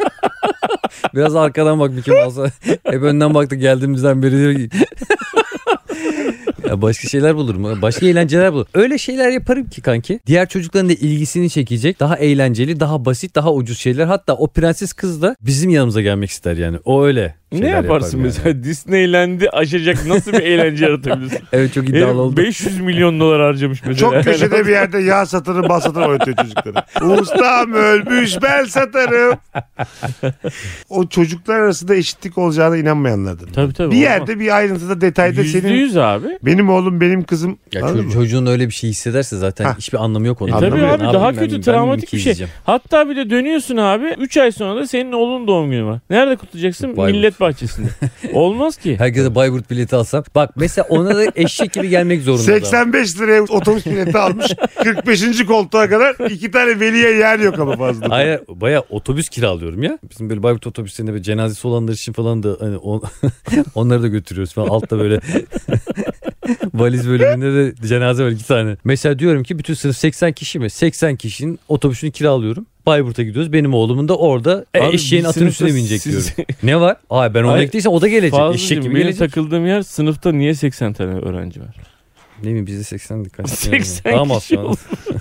B: biraz arkadan bak Mickey Mouse'a. Hep önden baktı geldiğimizden beri. diyor ki- ya başka şeyler bulurum. Başka eğlenceler bulurum. Öyle şeyler yaparım ki kanki. Diğer çocukların da ilgisini çekecek. Daha eğlenceli, daha basit, daha ucuz şeyler. Hatta o prenses kız da bizim yanımıza gelmek ister yani. O öyle.
C: Ne
B: şeyler
C: yaparsın
B: yaparım yani.
C: mesela? Disneyland'i aşacak nasıl bir eğlence yaratabilirsin?
B: Evet çok
C: Herif
B: iddialı oldum.
C: 500 milyon dolar harcamış mesela.
A: Çok köşede bir yerde yağ satarım, bal satarım öğretiyor çocuklara. Ustam ölmüş, ben satarım. o çocuklar arasında eşitlik olacağına inanmayanlardır.
C: Tabii tabii.
A: Bir yerde bir ayrıntıda detayda
C: Yüzde
A: senin
C: yüz abi.
A: benim oğlum benim kızım
B: Ya
A: Anladın
B: ço-
A: mı?
B: çocuğun öyle bir şey hissederse zaten
A: Hah.
B: hiçbir anlamı yok onun.
C: E tabii
B: Anlamı yok.
C: abi,
B: Ne
C: daha
B: yapayım ben-
C: kötü,
B: ben
C: travmatik
B: Mickey
C: bir şey.
B: izleyeceğim.
C: Hatta bir de dönüyorsun abi. 3 ay sonra da senin oğlunun doğum günü var. Nerede kutlayacaksın?
B: Vay be.
C: Millet bahçesinde. Olmaz ki.
B: Herkese Bayburt bileti alsam. Bak mesela ona da eşek gibi gelmek zorunda. adam.
A: 85 liraya otobüs bileti almış. 45. koltuğa kadar iki tane veliye yer yok ama fazla.
B: Hayır baya otobüs kiralıyorum ya. Bizim böyle Bayburt otobüslerinde böyle cenazesi olanlar için falan da hani on- onları da götürüyoruz falan. Altta böyle valiz bölümünde de cenaze var iki tane. Mesela diyorum ki bütün sınıf 80 kişi mi? 80 kişinin otobüsünü kiralıyorum. Bayburt'a gidiyoruz. Benim oğlumun da orada e,
C: Abi
B: eşeğin
C: bir
B: atının
C: sınıfta
B: üstüne binecek
C: siz-
B: diyorum. Ne var? Ay ben ona
C: Ay,
B: gittiysem o da gelecek. Eşek
C: Fazlıcığım
B: gibi
C: benim
B: gelecek.
C: takıldığım yer sınıfta niye 80 tane öğrenci var?
B: Değil mi? Bizde 80 dikkat.
C: 80
B: Tamam
C: kişi
B: aslında.
C: oldu.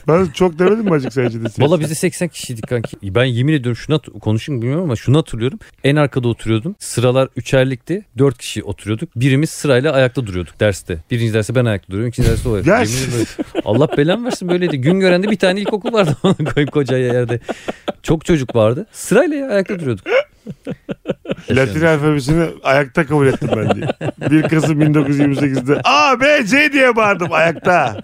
A: Ben çok demedim mi acık sence de?
B: Valla bizde 80 kişiydik kanki. Ben yemin ediyorum şunu hat- konuşayım mı bilmiyorum ama şunu hatırlıyorum. En arkada oturuyordum. Sıralar üçerlikti. Dört kişi oturuyorduk. Birimiz sırayla ayakta duruyorduk derste. Birinci derste ben ayakta duruyorum. İkinci derste o ayakta.
A: Ya
B: Yemin
A: siz-
B: ediyorum böyle- Allah belamı versin böyleydi. Gün görende bir tane ilkokul vardı ona koyayım koca yerde. Çok çocuk vardı. Sırayla ya, ayakta duruyorduk.
A: Latin alfabesini ayakta kabul ettim ben diye. 1 Kasım 1928'de A, B, C diye bağırdım ayakta.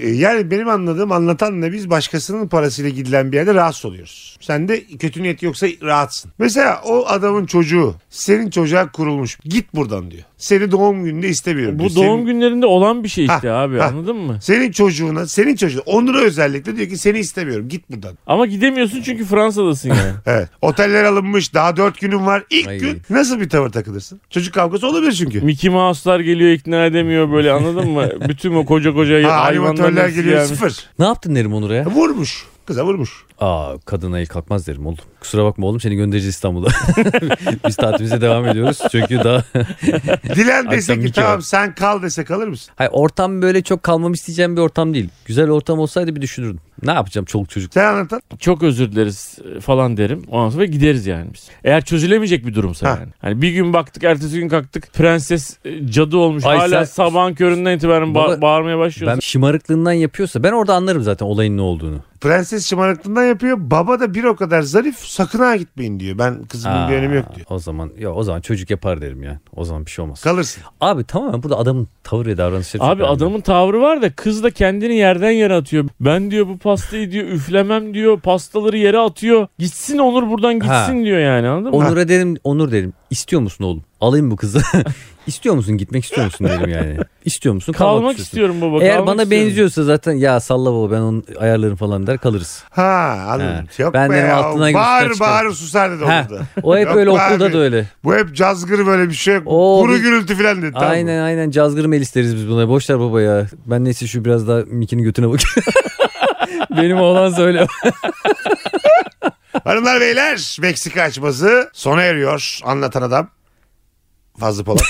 A: Ee, Yani benim anladığım anlatanla biz başkasının parasıyla gidilen bir yerde rahatsız oluyoruz. Sen de kötü niyet yoksa rahatsın. Mesela o adamın çocuğu senin çocuğa kurulmuş. Git buradan diyor. Seni doğum gününde istemiyorum.
C: Bu
A: diyor.
C: doğum
A: Senin-
C: günlerinde olan bir şey işte
A: Ha,
C: abi
A: ha.
C: anladın mı?
A: Senin çocuğuna, senin çocuğuna onura özellikle diyor ki seni istemiyorum git buradan.
C: Ama gidemiyorsun çünkü Fransa'dasın yani.
A: Evet. Oteller alınmış daha dört günün var. İlk
B: Ay.
A: gün nasıl bir tavır takılırsın? Çocuk kavgası olabilir çünkü.
C: Mickey Mouse'lar geliyor ikna edemiyor böyle anladın mı? Bütün o koca koca
A: Ha, animatörler
C: hayvanlar
A: geliyor sıfır. E,
B: Ne yaptın derim Onur'a ya?
A: Vurmuş. Kıza vurmuş.
B: Aa kadına el kalkmaz derim oğlum. Kusura bakma oğlum seni göndereceğiz İstanbul'a. Biz tatilimize devam ediyoruz. Çünkü daha
A: Dilen
B: Hakikaten
A: dese ki
B: Mickey
A: tamam
B: var."
A: sen kal dese kalır mısın?
B: Hayır ortam böyle çok kalmamı isteyeceğim bir ortam değil. Güzel ortam olsaydı bir düşünürdüm. Ne yapacağım çoluk çocuk?
A: Sen anlatan.
C: Çok özür dileriz e, falan derim. Ondan sonra gideriz yani biz. Eğer çözülemeyecek bir durumsa
A: Ha.
C: yani. Hani bir gün baktık ertesi gün kalktık prenses e, cadı olmuş.
B: Ay
C: Hala
B: sen-
C: sabahın köründen itibaren ba-
B: Baba-
C: bağırmaya
B: Ben
C: başlıyorsun.
B: şımarıklığından yapıyorsa ben orada anlarım zaten olayın ne olduğunu.
A: Prenses şımarıklığından yapıyor. Baba da bir o kadar zarif. Sakın ha gitmeyin diyor. Ben kızımın
B: Aa,
A: bir önemi yok diyor.
B: O zaman ya o zaman çocuk yapar derim ya. O zaman bir şey olmaz.
A: Kalırsın.
B: Abi tamamen burada adamın tavır ve davranışları çok
C: Abi
B: önemli.
C: adamın tavrı var da kız da kendini yerden yere atıyor. Ben diyor bu pastayı diyor üflemem diyor. Pastaları yere atıyor. Gitsin Onur buradan gitsin
B: Ha.
C: diyor yani anladın mı?
B: Onur'a derim Onur derim istiyor musun oğlum? Alayım bu kızı. istiyor musun gitmek istiyor musun derim yani. İstiyor musun kalmak,
C: Kalmak
B: istiyorsun.
C: istiyorum baba.
B: Eğer
C: kalmak
B: bana
C: istiyorum.
B: benziyorsa zaten ya salla baba ben onun ayarlarını falan der kalırız.
A: Ha anladım.
B: He.
A: Yok
B: Ben
A: be
B: dedim
A: ya.
B: altına girip üstüne
A: Bağır
B: çıkarım.
A: bağır susar dedi
B: He.
A: orada.
B: O hep
A: Yok
B: öyle
A: be
B: okulda
A: abi.
B: da öyle.
A: Bu hep cazgır böyle bir şey. yok.
B: Oo,
A: Kuru
B: biz-
A: gürültü falan dedi. Tamam.
B: Aynen aynen cazgır mel isteriz biz buna. Boşlar baba ya. Ben neyse şu biraz daha Mickey'nin götüne bak. Benim oğlan söyle.
A: Hanımlar beyler Meksika açması sona eriyor. Anlatan adam. Fazla Polat.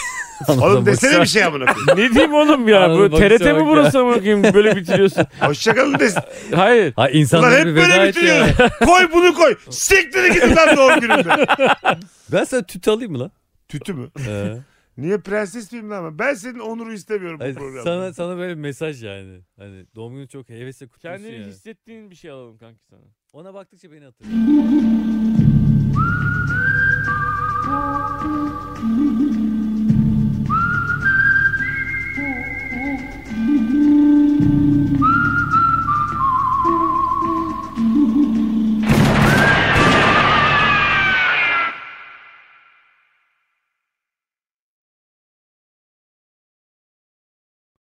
A: Oğlum desene bir şey amına koyayım.
C: Ne diyeyim oğlum ya?
B: Anladım,
C: Bu
B: bakışa
C: TRT mi
B: bak
C: burası amına koyayım? Böyle bitiriyorsun.
A: Hoşçakalın desin.
C: Hayır.
B: Ha
A: Ulan
B: insanlar
A: hep
B: bir veda
A: böyle şey
B: et ya.
A: bitiriyoruz. koy bunu koy. Siktir gidin lan doğum günümde.
B: Ben sana tütü alayım mı lan?
A: Tütü mü?
B: Ee,
A: Niye prenses miyim lan ben? Ben senin onuru istemiyorum bu
B: hayır,
A: programda.
B: sana sana böyle bir mesaj yani. Hani doğum günü çok hevesle kutluyorsun
C: Kendini
B: ya.
C: hissettiğin bir şey alalım kanki sana.
B: Ona baktıkça beni hatırlıyor.